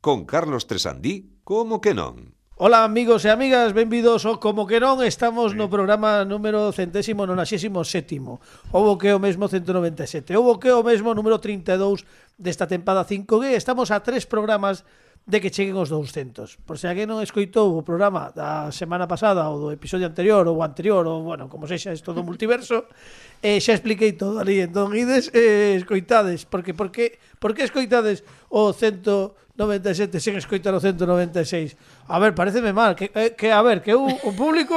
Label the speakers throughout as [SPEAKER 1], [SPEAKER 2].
[SPEAKER 1] con Carlos Tresandí, como que non.
[SPEAKER 2] Ola amigos e amigas, benvidos ao Como que non Estamos no programa número centésimo nonaxésimo sétimo Houbo que o mesmo 197 Houbo que o mesmo número 32 desta tempada 5G Estamos a tres programas de que cheguen os 200 Por se alguén non escoitou o programa da semana pasada Ou do episodio anterior ou o anterior Ou, bueno, como sexa, isto do multiverso eh, Xa expliquei todo ali Entón, ides, eh, escoitades Porque, porque, porque escoitades o 100 97 sen escoitar o 196. A ver, pareceme mal que, eh, que a ver, que un, un público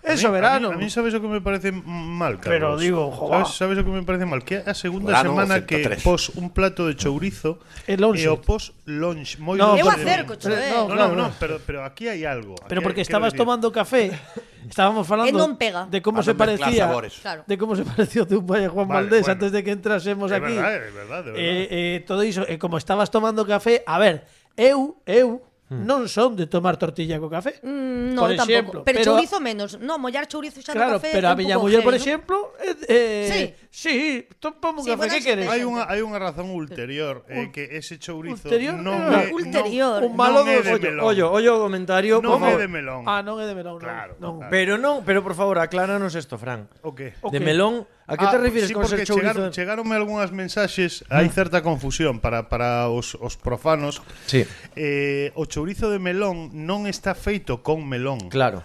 [SPEAKER 2] é soberano.
[SPEAKER 3] A mí, a mí sabes o que me parece mal, Carlos.
[SPEAKER 2] Pero digo, jova.
[SPEAKER 3] ¿Sabes, sabes o que me parece mal? Que é a segunda
[SPEAKER 4] Olá, no,
[SPEAKER 3] semana que
[SPEAKER 4] 103.
[SPEAKER 3] pos un plato de chourizo
[SPEAKER 2] E lonxe.
[SPEAKER 3] e o pos lunch moi
[SPEAKER 2] No,
[SPEAKER 3] longe
[SPEAKER 2] Eu
[SPEAKER 3] de min.
[SPEAKER 5] acerco, cho, eh.
[SPEAKER 3] No, no, no, pero, pero aquí hai algo.
[SPEAKER 2] Pero
[SPEAKER 3] Aquí
[SPEAKER 2] porque
[SPEAKER 3] hai-
[SPEAKER 2] estabas
[SPEAKER 3] quero
[SPEAKER 2] tomando café, estábamos falando
[SPEAKER 5] E non pega.
[SPEAKER 2] de como se
[SPEAKER 4] Para non mezclar
[SPEAKER 2] parecía
[SPEAKER 4] sabores.
[SPEAKER 5] Claro.
[SPEAKER 2] de como se pareció teu pai a Juan
[SPEAKER 3] Vale,
[SPEAKER 2] Valdés
[SPEAKER 3] bueno.
[SPEAKER 2] antes de que entrásemos
[SPEAKER 3] É
[SPEAKER 2] aquí.
[SPEAKER 3] verdade, é verdade, é verdade.
[SPEAKER 2] Eh, eh, todo iso, e como estabas tomando café, a ver, eu, eu
[SPEAKER 3] Hmm.
[SPEAKER 2] non son de tomar tortilla co café.
[SPEAKER 5] Mm, No,
[SPEAKER 2] por
[SPEAKER 5] tampouco.
[SPEAKER 2] exemplo,
[SPEAKER 5] pero, chourizo menos. No, mollar chourizo xa
[SPEAKER 2] Claro,
[SPEAKER 5] no café.
[SPEAKER 2] pero a
[SPEAKER 5] é un
[SPEAKER 2] miña
[SPEAKER 5] pouco
[SPEAKER 2] muller, por
[SPEAKER 5] heavy, ¿no?
[SPEAKER 2] exemplo, eh, sí, sí, topamos
[SPEAKER 5] Sí,
[SPEAKER 2] un café,
[SPEAKER 5] bueno,
[SPEAKER 2] que
[SPEAKER 5] sí,
[SPEAKER 2] queres?
[SPEAKER 5] pero-
[SPEAKER 3] Hai unha hai unha razón ulterior eh, que ese chourizo
[SPEAKER 2] Ulterior?
[SPEAKER 3] non
[SPEAKER 2] Ah,
[SPEAKER 3] é
[SPEAKER 5] ulterior.
[SPEAKER 3] non-
[SPEAKER 6] Un malo
[SPEAKER 3] non é
[SPEAKER 6] dos
[SPEAKER 3] de melón.
[SPEAKER 6] ollo, ollo, ollo o comentario,
[SPEAKER 3] Non é
[SPEAKER 6] por favor.
[SPEAKER 3] de melón.
[SPEAKER 2] Ah, non é de melón, non.
[SPEAKER 3] Claro,
[SPEAKER 2] non.
[SPEAKER 3] claro.
[SPEAKER 6] Pero non, pero por favor, acláranos isto, Fran.
[SPEAKER 3] O que?
[SPEAKER 2] Ok.
[SPEAKER 6] De melón, a que
[SPEAKER 3] Ah,
[SPEAKER 6] te
[SPEAKER 3] sí,
[SPEAKER 6] refires con
[SPEAKER 3] porque
[SPEAKER 6] ser chourizo?
[SPEAKER 3] chegaron- Chegaronme algunhas mensaxes, hai certa confusión para para os os profanos.
[SPEAKER 6] Sí,
[SPEAKER 3] Eh, o chourizo de melón non está feito con melón.
[SPEAKER 6] claro,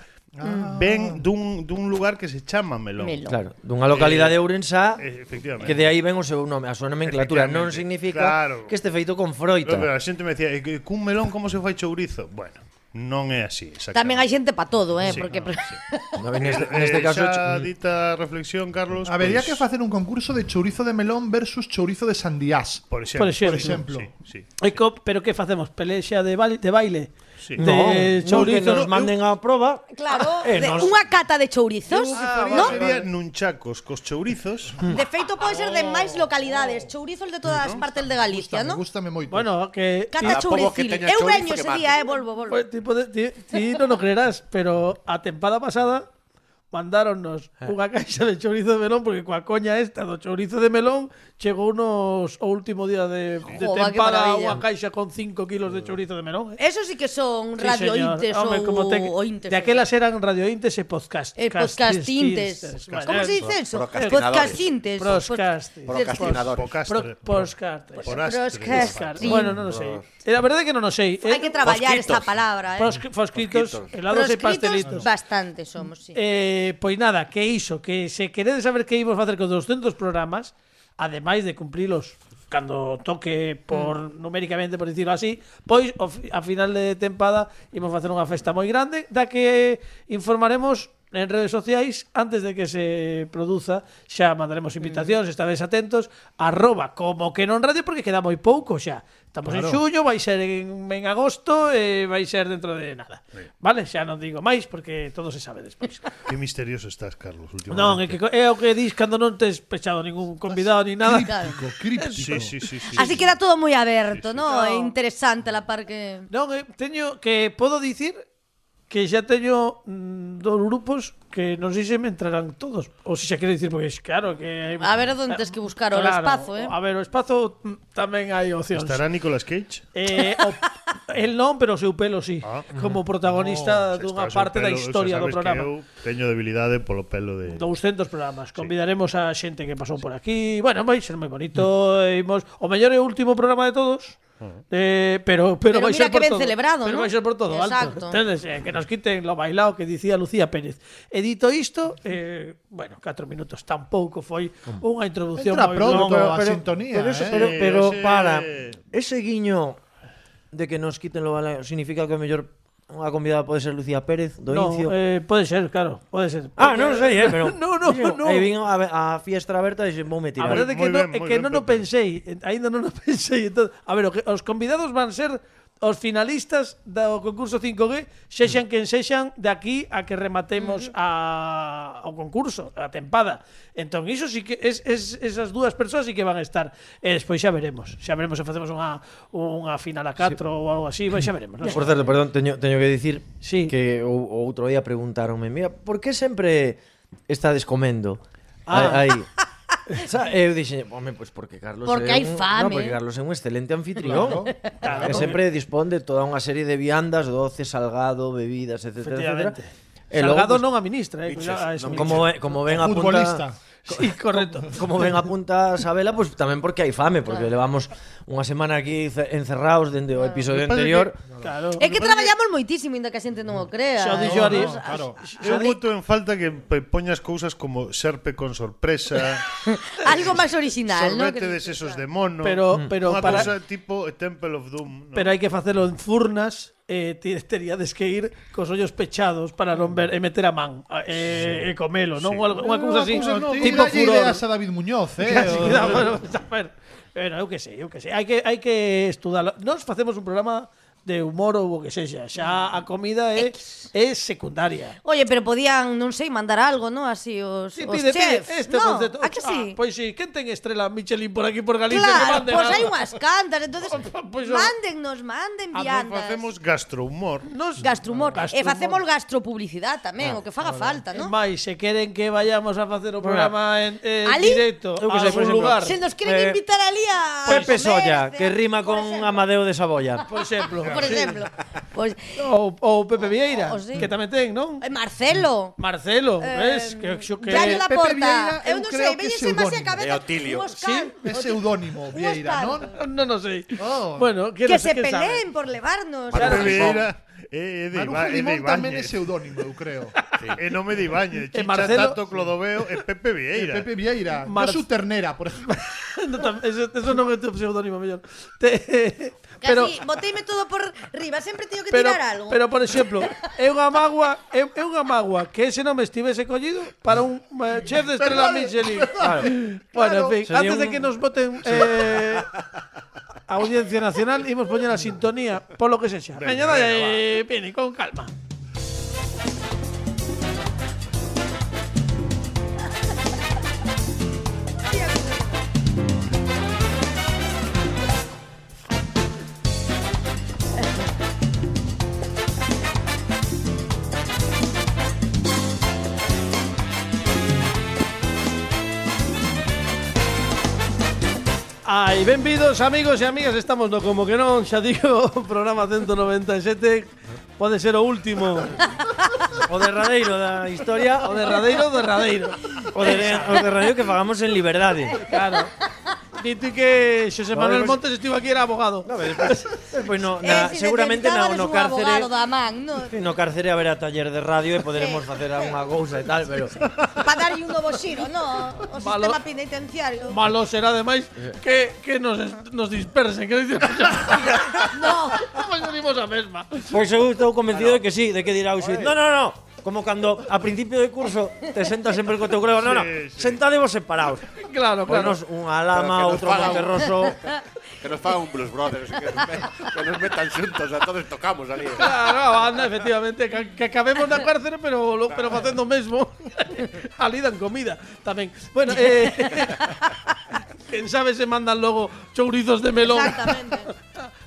[SPEAKER 3] Ven dun dun lugar que se chama melón.
[SPEAKER 5] Ah. Melón.
[SPEAKER 6] claro. Dunha localidade
[SPEAKER 3] Eh,
[SPEAKER 6] ourensá
[SPEAKER 3] Eh, Efectivamente.
[SPEAKER 6] que de aí ven o seu nome, a súa nomenclatura non
[SPEAKER 3] Efectivamente,
[SPEAKER 6] significa
[SPEAKER 3] claro.
[SPEAKER 6] que este feito con
[SPEAKER 3] No, pero
[SPEAKER 6] froita.
[SPEAKER 3] a xente me decía, eh, que cun melón como se fai chourizo? Bueno, non é así, exactamente.
[SPEAKER 5] Tamén hai xente pa todo, eh,
[SPEAKER 3] Sí,
[SPEAKER 5] porque
[SPEAKER 3] no, sí.
[SPEAKER 6] No, neste,
[SPEAKER 3] Eh,
[SPEAKER 6] neste caso
[SPEAKER 3] xa dita reflexión, Carlos.
[SPEAKER 7] Habería
[SPEAKER 3] pois,
[SPEAKER 7] que facer un concurso de chourizo de melón versus chourizo de sandías.
[SPEAKER 3] por exemplo,
[SPEAKER 2] Por exemplo.
[SPEAKER 3] Sí, sí.
[SPEAKER 2] E co- pero que facemos? Pelexa de baile, de baile.
[SPEAKER 3] Sí.
[SPEAKER 2] De
[SPEAKER 6] non, chourizo,
[SPEAKER 2] chourizo,
[SPEAKER 6] que nos manden a proba.
[SPEAKER 5] Claro,
[SPEAKER 6] Eh,
[SPEAKER 5] de,
[SPEAKER 6] nos-
[SPEAKER 5] unha cata de chourizos,
[SPEAKER 3] No?
[SPEAKER 5] ¿no?
[SPEAKER 3] Sería nunchacos cos chourizos.
[SPEAKER 5] De feito pode ser de máis localidades, chourizos de todas as partes de Galicia,
[SPEAKER 7] Me
[SPEAKER 5] ¿no?
[SPEAKER 7] gustame moito.
[SPEAKER 2] Bueno, que
[SPEAKER 5] Cata
[SPEAKER 4] Para povos
[SPEAKER 5] chouricil.
[SPEAKER 4] que teñan
[SPEAKER 5] Eu
[SPEAKER 4] chourizo
[SPEAKER 5] veño
[SPEAKER 4] que
[SPEAKER 5] ese
[SPEAKER 4] manden.
[SPEAKER 5] día, eh, volvo, volvo.
[SPEAKER 2] Pues, tipo de, ti, ti non o creerás, pero a tempada pasada mandáronnos unha caixa de chourizo de melón porque coa coña esta do chourizo de melón chegou nos o último día de, de
[SPEAKER 5] Jova, que
[SPEAKER 2] tempada
[SPEAKER 5] maravilla.
[SPEAKER 2] unha caixa con 5 kilos de chourizo de melón. Eh?
[SPEAKER 5] Eso sí que
[SPEAKER 2] Sí,
[SPEAKER 5] son
[SPEAKER 2] señor.
[SPEAKER 5] radiointes
[SPEAKER 2] Home,
[SPEAKER 5] ou
[SPEAKER 2] como te-
[SPEAKER 5] ointes.
[SPEAKER 2] De aquelas eran radiointes e podcast.
[SPEAKER 5] Eh, podcastintes.
[SPEAKER 2] Bueno,
[SPEAKER 5] Como se dice eso?
[SPEAKER 4] Procrastinadores.
[SPEAKER 5] Podcastintes.
[SPEAKER 2] Procastes.
[SPEAKER 4] Procrastinadores.
[SPEAKER 3] Pocastre.
[SPEAKER 2] Pro- Podcastes.
[SPEAKER 3] Procrastes.
[SPEAKER 5] Procrastes. Sí.
[SPEAKER 2] Bueno, non o sei. Eh, A verdade é que non o sei.
[SPEAKER 5] Hai que traballar
[SPEAKER 4] Fosquitos.
[SPEAKER 5] esta palabra, eh.
[SPEAKER 2] Prosc- Fosquitos, helados e pastelitos.
[SPEAKER 5] Proscritos, Bastante somos, sí.
[SPEAKER 2] Eh, pois nada, que iso, que se queredes saber que imos facer con 200 programas, ademais de cumprilos cando toque por numéricamente por dicirlo así, pois ao fi- a final de tempada imos facer unha festa moi grande da que informaremos en redes sociais antes de que se produza xa mandaremos invitacións, estades atentos arroba como que non radio porque queda moi pouco xa estamos en xullo, vai ser en, en agosto e vai ser dentro de nada vale, xa non digo máis porque todo se sabe despois
[SPEAKER 3] Qué misterioso estás, Carlos, últimamente.
[SPEAKER 2] Non, é que co- é o que dis cando non tes pechado ningún convidado ni nada.
[SPEAKER 5] Claro.
[SPEAKER 7] Críptico.
[SPEAKER 3] Sí, sí, sí, sí.
[SPEAKER 5] Así queda todo moi aberto,
[SPEAKER 2] No.
[SPEAKER 5] ¿no? É interesante la par que...
[SPEAKER 2] Non, eh, teño que podo dicir que xa teño mm, dos grupos que non sei se me entrarán todos, ou se xa quero dicir porque claro que
[SPEAKER 5] A ver onde tes que buscar o espazo, eh.
[SPEAKER 2] A ver, o espazo mm, tamén hai opcións.
[SPEAKER 3] Estará Nicolas Cage?
[SPEAKER 2] Eh, o, el non, pero o seu pelo sí,
[SPEAKER 3] Ah.
[SPEAKER 2] como
[SPEAKER 3] Oh,
[SPEAKER 2] protagonista dunha
[SPEAKER 3] Estás o
[SPEAKER 2] parte da
[SPEAKER 3] pelo,
[SPEAKER 2] historia do
[SPEAKER 3] xa sabes que
[SPEAKER 2] programa.
[SPEAKER 3] Eu teño debilidade polo pelo de
[SPEAKER 2] 200 programas. Convidaremos a xente que pasou por aquí. Bueno, vai ser moi bonito. e
[SPEAKER 6] Mm.
[SPEAKER 2] Imos, o mellor é o último programa de todos. Eh, pero pero,
[SPEAKER 5] Pero
[SPEAKER 2] vai
[SPEAKER 5] mira
[SPEAKER 2] ser por
[SPEAKER 5] que ben
[SPEAKER 2] todo.
[SPEAKER 5] celebrado,
[SPEAKER 2] pero
[SPEAKER 5] ¿no?
[SPEAKER 2] vai ser por todo, alto.
[SPEAKER 5] Exacto.
[SPEAKER 2] Entendes, eh, que nos quiten lo bailado que dicía Lucía Pérez. Edito isto, eh, bueno, 4 minutos tampouco foi
[SPEAKER 6] Mm.
[SPEAKER 2] unha introducción
[SPEAKER 7] Entra
[SPEAKER 2] moi
[SPEAKER 7] pronto,
[SPEAKER 2] longa.
[SPEAKER 7] a sintonía,
[SPEAKER 6] pero, eso-
[SPEAKER 7] eh.
[SPEAKER 6] pero, pero
[SPEAKER 3] Ese-
[SPEAKER 6] para ese guiño de que nos quiten lo bala significa que o mellor unha convidada pode ser Lucía Pérez do
[SPEAKER 2] No,
[SPEAKER 6] Incio.
[SPEAKER 2] eh, pode ser, claro, pode ser.
[SPEAKER 6] Ah, non sei, eh, pero
[SPEAKER 2] No, no,
[SPEAKER 6] Dixen,
[SPEAKER 2] no.
[SPEAKER 6] Aí vin a, a fiestra aberta e dixen, vou me
[SPEAKER 2] A
[SPEAKER 6] tirar.
[SPEAKER 2] verdade é que,
[SPEAKER 3] Moi
[SPEAKER 2] no,
[SPEAKER 3] ben,
[SPEAKER 2] é
[SPEAKER 3] moi
[SPEAKER 2] que
[SPEAKER 3] ben,
[SPEAKER 2] non o
[SPEAKER 3] Pepe.
[SPEAKER 2] pensei, en- aínda non o pensei. Entón, a ver, o que- os convidados van ser os finalistas do concurso 5G, sexan quen sexan de aquí a que rematemos a, ao concurso, a tempada. Entón, iso sí que es, es, esas dúas persoas sí que van a estar. E despois xa veremos. Xa veremos se facemos unha, unha final a 4 ou algo así, pois xa veremos. Non?
[SPEAKER 6] Por certo, perdón, teño, teño que dicir
[SPEAKER 2] Sí.
[SPEAKER 6] que o, o outro día preguntaronme, mira, por que sempre estades comendo?
[SPEAKER 2] Ah.
[SPEAKER 6] Aí, Xa, eu dixen, home, pois pues porque Carlos
[SPEAKER 5] Porque
[SPEAKER 6] é
[SPEAKER 5] hai
[SPEAKER 6] un,
[SPEAKER 5] fame. ¿eh?
[SPEAKER 6] No, porque Carlos é un excelente anfitrión. Claro, claro. Que sempre dispón de toda unha serie de viandas, doce, salgado, bebidas, etc.
[SPEAKER 2] Efectivamente.
[SPEAKER 6] etc.
[SPEAKER 2] Salgado non administra, eh, cuidado, a eso.
[SPEAKER 6] pues, como, ve- como ven
[SPEAKER 7] Futbolista.
[SPEAKER 6] apunta
[SPEAKER 2] Sí, correcto.
[SPEAKER 6] como ven apunta Sabela, pues tamén porque hai fame, porque levamos unha semana aquí ce- encerrados dende o
[SPEAKER 3] Lo que
[SPEAKER 6] episodio
[SPEAKER 3] pasa é que-
[SPEAKER 6] anterior.
[SPEAKER 2] Claro.
[SPEAKER 5] É que traballamos moitísimo, ainda que a xente non o crea.
[SPEAKER 2] Xa o
[SPEAKER 5] eh.
[SPEAKER 2] dixo Ari.
[SPEAKER 5] Nos-
[SPEAKER 3] Claro,
[SPEAKER 5] as-
[SPEAKER 3] eu voto en falta que pe- poñas cousas como serpe con sorpresa,
[SPEAKER 5] Algo máis original, non?
[SPEAKER 3] sorbete de sesos de mono, mm.
[SPEAKER 2] Pero- pero
[SPEAKER 3] unha
[SPEAKER 2] para-
[SPEAKER 3] cousa tipo Temple of Doom. ¿no?
[SPEAKER 2] Pero hai que facelo en furnas eh, ti- teríades que ir cos ollos pechados para non ver e meter a man eh, e comelo, non?
[SPEAKER 3] Sí.
[SPEAKER 2] Unha, unha cousa así,
[SPEAKER 7] no,
[SPEAKER 2] tipo
[SPEAKER 7] tipo
[SPEAKER 2] furor.
[SPEAKER 7] ideas a David Muñoz, eh.
[SPEAKER 2] Casi,
[SPEAKER 7] o-
[SPEAKER 2] cuidado, bueno, a ver. Bueno, eu que sei, eu que sei. Hai que, hai que estudarlo. Nos facemos un programa de humor ou o que sexa. Xa a comida é, é secundaria.
[SPEAKER 5] Oye, pero podían, non sei, mandar algo, non? Así os,
[SPEAKER 2] Si
[SPEAKER 5] os
[SPEAKER 2] pide, pide
[SPEAKER 5] chefs.
[SPEAKER 2] este
[SPEAKER 5] no,
[SPEAKER 2] concepto.
[SPEAKER 5] a que
[SPEAKER 2] Ah,
[SPEAKER 5] sí?
[SPEAKER 2] pois si, quen ten estrela Michelin por aquí por Galicia que
[SPEAKER 5] claro,
[SPEAKER 2] manden
[SPEAKER 5] pois
[SPEAKER 2] algo?
[SPEAKER 5] hai unhas cantas, entonces
[SPEAKER 2] Pois o-
[SPEAKER 5] mándennos,
[SPEAKER 3] Ah,
[SPEAKER 5] manden
[SPEAKER 3] non
[SPEAKER 5] viandas.
[SPEAKER 3] facemos gastrohumor.
[SPEAKER 2] Nos
[SPEAKER 5] gastrumor. E
[SPEAKER 2] Gastrumor.
[SPEAKER 5] facemos gastropublicidade tamén,
[SPEAKER 2] Ah,
[SPEAKER 5] o que faga falta,
[SPEAKER 2] E
[SPEAKER 5] non?
[SPEAKER 2] máis, se queren que vayamos a facer o
[SPEAKER 6] Bueno,
[SPEAKER 2] programa en, en
[SPEAKER 5] ali-
[SPEAKER 2] directo
[SPEAKER 6] Eu
[SPEAKER 2] a
[SPEAKER 6] que sei, por
[SPEAKER 2] algún
[SPEAKER 6] exemplo,
[SPEAKER 2] lugar,
[SPEAKER 5] Se nos queren
[SPEAKER 6] Eh,
[SPEAKER 5] invitar ali a
[SPEAKER 6] Pepe
[SPEAKER 5] comer,
[SPEAKER 6] Solla,
[SPEAKER 5] de-
[SPEAKER 6] que rima
[SPEAKER 5] por
[SPEAKER 6] con
[SPEAKER 5] exemplo.
[SPEAKER 6] Amadeo de Saboya.
[SPEAKER 2] por exemplo,
[SPEAKER 5] Por
[SPEAKER 2] sí.
[SPEAKER 5] exemplo. Pois
[SPEAKER 2] ou, ou Pepe Vieira,
[SPEAKER 5] O- o sí.
[SPEAKER 2] que tamén ten, non?
[SPEAKER 5] Eh, Marcelo.
[SPEAKER 2] Marcelo, ves? Que, xo que,
[SPEAKER 5] Yayo
[SPEAKER 7] Pepe Vieira,
[SPEAKER 5] Laporta. Eh, Eu
[SPEAKER 7] eu
[SPEAKER 5] non
[SPEAKER 7] creo
[SPEAKER 5] sei,
[SPEAKER 7] que é
[SPEAKER 5] veñese máis a
[SPEAKER 7] pseudónimo.
[SPEAKER 5] cabeza.
[SPEAKER 4] E Otilio.
[SPEAKER 5] unos
[SPEAKER 2] Sí,
[SPEAKER 5] can-
[SPEAKER 7] É pseudónimo, Vieira,
[SPEAKER 5] Oscar.
[SPEAKER 7] non?
[SPEAKER 2] non o sei.
[SPEAKER 7] Oh.
[SPEAKER 2] Bueno, que,
[SPEAKER 5] Que
[SPEAKER 2] non sei,
[SPEAKER 5] se
[SPEAKER 2] quen sabe.
[SPEAKER 5] peleen por levarnos.
[SPEAKER 4] Claro.
[SPEAKER 3] Pepe Vieira é- é Eh, de
[SPEAKER 7] Maruja
[SPEAKER 3] Iba- é de
[SPEAKER 7] Limón tamén é
[SPEAKER 3] Ibáñez.
[SPEAKER 7] pseudónimo, eu creo.
[SPEAKER 3] E nome de Ibáñez. Chicha,
[SPEAKER 2] Eh, Marcelo-
[SPEAKER 3] Tato, Clodoveo e Eh, Pepe Vieira.
[SPEAKER 7] Pepe Vieira,
[SPEAKER 2] Mar-
[SPEAKER 7] Mar... su ternera, por ejemplo.
[SPEAKER 2] No, tam- eso, eso non é o teu pseudónimo mellor. Te, pero
[SPEAKER 5] Casi, boteime todo por riba, sempre teño que
[SPEAKER 2] pero,
[SPEAKER 5] tirar algo.
[SPEAKER 2] pero por exemplo, é unha magua, é, é unha magua que ese nome estivese collido para un eh, chef de estrela Michelin.
[SPEAKER 6] Claro.
[SPEAKER 2] Bueno, en fin,
[SPEAKER 6] Sería
[SPEAKER 2] antes de
[SPEAKER 6] un-
[SPEAKER 2] que nos voten eh, a Audiencia Nacional, imos poñer a sintonía polo que sexa. Veña, dai, eh, Pini, con calma. Ai, benvidos amigos e amigas, estamos no como que non, xa digo, programa 197, pode ser o último,
[SPEAKER 6] O derradeiro da historia,
[SPEAKER 2] o
[SPEAKER 6] o, de,
[SPEAKER 2] derradeiro, o derradeiro.
[SPEAKER 6] o, de, o derradeiro que fagamos en liberdade.
[SPEAKER 2] Claro. Dite que Xosé
[SPEAKER 6] Vale,
[SPEAKER 2] Manuel
[SPEAKER 6] pues-
[SPEAKER 2] Montes estivo aquí era abogado.
[SPEAKER 6] No, despois, despois Pois no,
[SPEAKER 5] Eh,
[SPEAKER 6] na,
[SPEAKER 5] si
[SPEAKER 6] seguramente na,
[SPEAKER 5] necesitábades
[SPEAKER 6] no
[SPEAKER 5] un
[SPEAKER 6] cárcere
[SPEAKER 5] abogado da man, no?
[SPEAKER 6] No cárcere haberá taller de radio e poderemos
[SPEAKER 5] Sí.
[SPEAKER 6] facer algunha cousa e tal, pero
[SPEAKER 5] Para darlle un novo xiro, no? O
[SPEAKER 2] Malo.
[SPEAKER 5] sistema penitenciario.
[SPEAKER 2] Malo será ademais que, que nos, nos dispersen, que dicen,
[SPEAKER 5] No.
[SPEAKER 2] pois venimos a mesma.
[SPEAKER 6] Pois eu estou convencido de que sí, de que dirá o xuiz. No, no, no. Como cando a principio de curso te sentas sempre co teu colega, no, no,
[SPEAKER 3] Sí, sí.
[SPEAKER 6] sentadevos separados.
[SPEAKER 2] Claro, claro.
[SPEAKER 6] Ponos unha lama,
[SPEAKER 4] Pero que nos
[SPEAKER 6] outro
[SPEAKER 4] fala un-
[SPEAKER 6] monterroso.
[SPEAKER 4] Que nos faga un Blues Brothers, que nos, met- que nos metan xuntos, a todos tocamos ali.
[SPEAKER 2] Claro, a banda, efectivamente, que, que acabemos na cárcere, pero lo, pero facendo o mesmo. Ali dan comida tamén. Bueno, eh Quen sabe se mandan logo chourizos de melón.
[SPEAKER 5] Exactamente.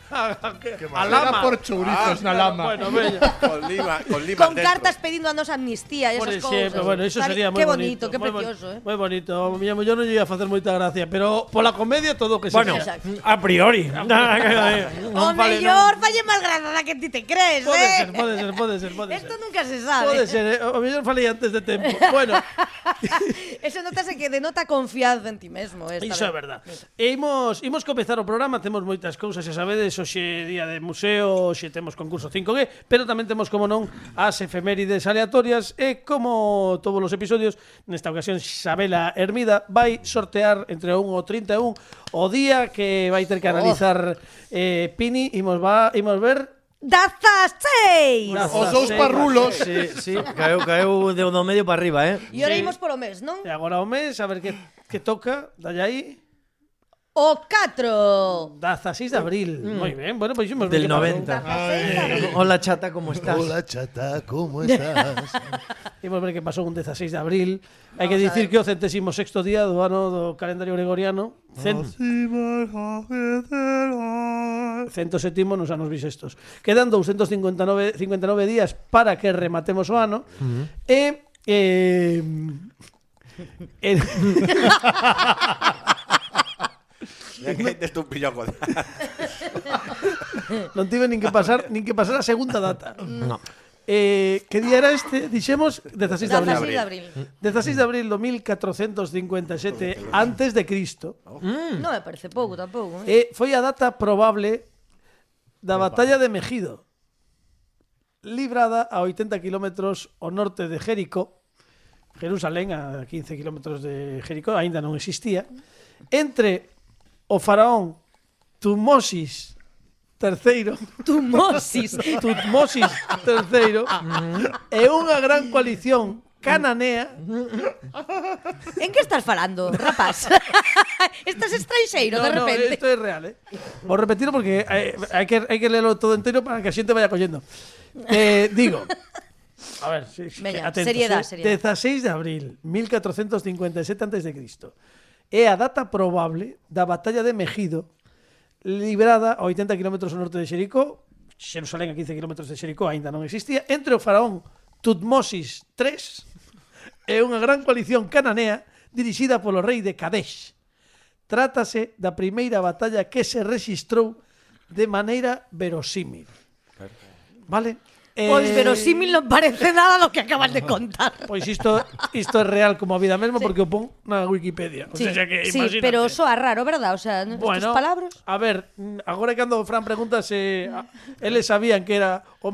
[SPEAKER 2] A, a, que- a
[SPEAKER 7] Era
[SPEAKER 2] lama. Ah,
[SPEAKER 7] por chourizos na lama.
[SPEAKER 2] Bueno, veña.
[SPEAKER 4] Con lima, con lima
[SPEAKER 5] Con cartas pedindo a nos amnistía e
[SPEAKER 2] Por
[SPEAKER 5] esas
[SPEAKER 2] exemplo,
[SPEAKER 5] cousas.
[SPEAKER 2] bueno, iso
[SPEAKER 5] Sabe,
[SPEAKER 2] sería moi
[SPEAKER 5] qué
[SPEAKER 2] bonito.
[SPEAKER 5] bonito, qué
[SPEAKER 2] moi bon-
[SPEAKER 5] precioso, eh.
[SPEAKER 2] Moi bonito. A miña muller non lle ia facer moita gracia, pero pola comedia todo o que se
[SPEAKER 6] Bueno,
[SPEAKER 2] fixera.
[SPEAKER 5] Exacto.
[SPEAKER 6] a priori.
[SPEAKER 5] O
[SPEAKER 6] non vale, non.
[SPEAKER 5] mellor falle máis grande da que ti te crees,
[SPEAKER 2] Pode
[SPEAKER 5] eh.
[SPEAKER 2] ser, pode ser, pode ser, pode ser.
[SPEAKER 5] Esto nunca se sabe.
[SPEAKER 2] Pode ser, eh, o mellor falei antes de tempo. Bueno,
[SPEAKER 5] Eso notase que denota confianza en ti mesmo, eh.
[SPEAKER 2] Iso é verdad. E imos, imos comezar o programa, temos moitas cousas, xa sabedes, hoxe é día de museo, hoxe temos concurso 5G, pero tamén temos, como non, as efemérides aleatorias e, como todos os episodios, nesta ocasión Xabela Hermida vai sortear entre o 1 e o 31 o día que vai ter que analizar eh, Pini, imos, va, imos ver
[SPEAKER 5] Dazas 6.
[SPEAKER 7] Os dous parrulos.
[SPEAKER 6] Sí, sí, caeu, caeu de do medio para arriba, eh.
[SPEAKER 5] E ora imos polo mes, non?
[SPEAKER 2] E agora o mes, a ver que, que toca, dalle aí,
[SPEAKER 5] O 4.
[SPEAKER 2] daza 6 de abril. Moi ben, bueno, pois imos ver
[SPEAKER 6] Del
[SPEAKER 2] que pasou.
[SPEAKER 6] 90.
[SPEAKER 5] Ai.
[SPEAKER 6] Hola chata, como estás?
[SPEAKER 7] chata, ¿cómo estás?
[SPEAKER 2] Imos ver que pasou un 16 de abril. Hai que dicir que o centésimo sexto día do ano do calendario gregoriano, cen, cento setimo nos anos bisestos. Quedan 259 59 días para que rematemos o ano. E eh, En-
[SPEAKER 4] Ya que deste un pillón con...
[SPEAKER 2] non tive nin que pasar nin que pasar a segunda data.
[SPEAKER 6] No.
[SPEAKER 2] Eh, que día era este? Dixemos 16 de abril.
[SPEAKER 5] 16 de
[SPEAKER 2] 16 de abril
[SPEAKER 5] abril.
[SPEAKER 2] do 1457 antes de Cristo. Mm.
[SPEAKER 5] Non me parece pouco tampouco.
[SPEAKER 2] E
[SPEAKER 5] Eh?
[SPEAKER 2] foi a data probable da batalla de Mejido, librada a 80 kilómetros ao norte de Jericó, Jerusalén a 15 kilómetros de Jericó, aínda non existía, entre o faraón Tumosis III
[SPEAKER 5] Tumosis.
[SPEAKER 2] Tutmosis III e unha gran coalición cananea
[SPEAKER 5] en que estás falando, rapaz? estás estranxeiro de
[SPEAKER 2] No, no,
[SPEAKER 5] repente.
[SPEAKER 2] esto es real, ¿eh? Vos repetirlo porque eh, hay, que, hay que leerlo todo entero para que la gente vaya cogiendo. Eh, digo. A ver, sí, sí,
[SPEAKER 5] Veña, seriedad, seriedad.
[SPEAKER 2] 16 de abril, 1457 a.C. É a data probable da batalla de Mejido librada a 80 km ao norte de Xericó, Xerusalén a 15 km de Xericó aínda non existía, entre o faraón Tutmosis III e unha gran coalición cananea dirixida polo rei de Kadesh. Trátase da primeira batalla que se rexistrou de maneira verosímil. Vale?
[SPEAKER 5] Pois
[SPEAKER 2] Eh,
[SPEAKER 5] Pues verosímil non parece nada do que acabas de contar.
[SPEAKER 2] Pois isto, isto é real como a vida mesmo porque o pon na Wikipedia. Pues O
[SPEAKER 5] Sí,
[SPEAKER 2] sea que
[SPEAKER 5] sí
[SPEAKER 2] imagínate.
[SPEAKER 5] pero soa raro, verdad? O sea, bueno,
[SPEAKER 2] Bueno,
[SPEAKER 5] palabras.
[SPEAKER 2] a ver, mm, agora que ando Fran pregunta ah, se a- eles sabían que era o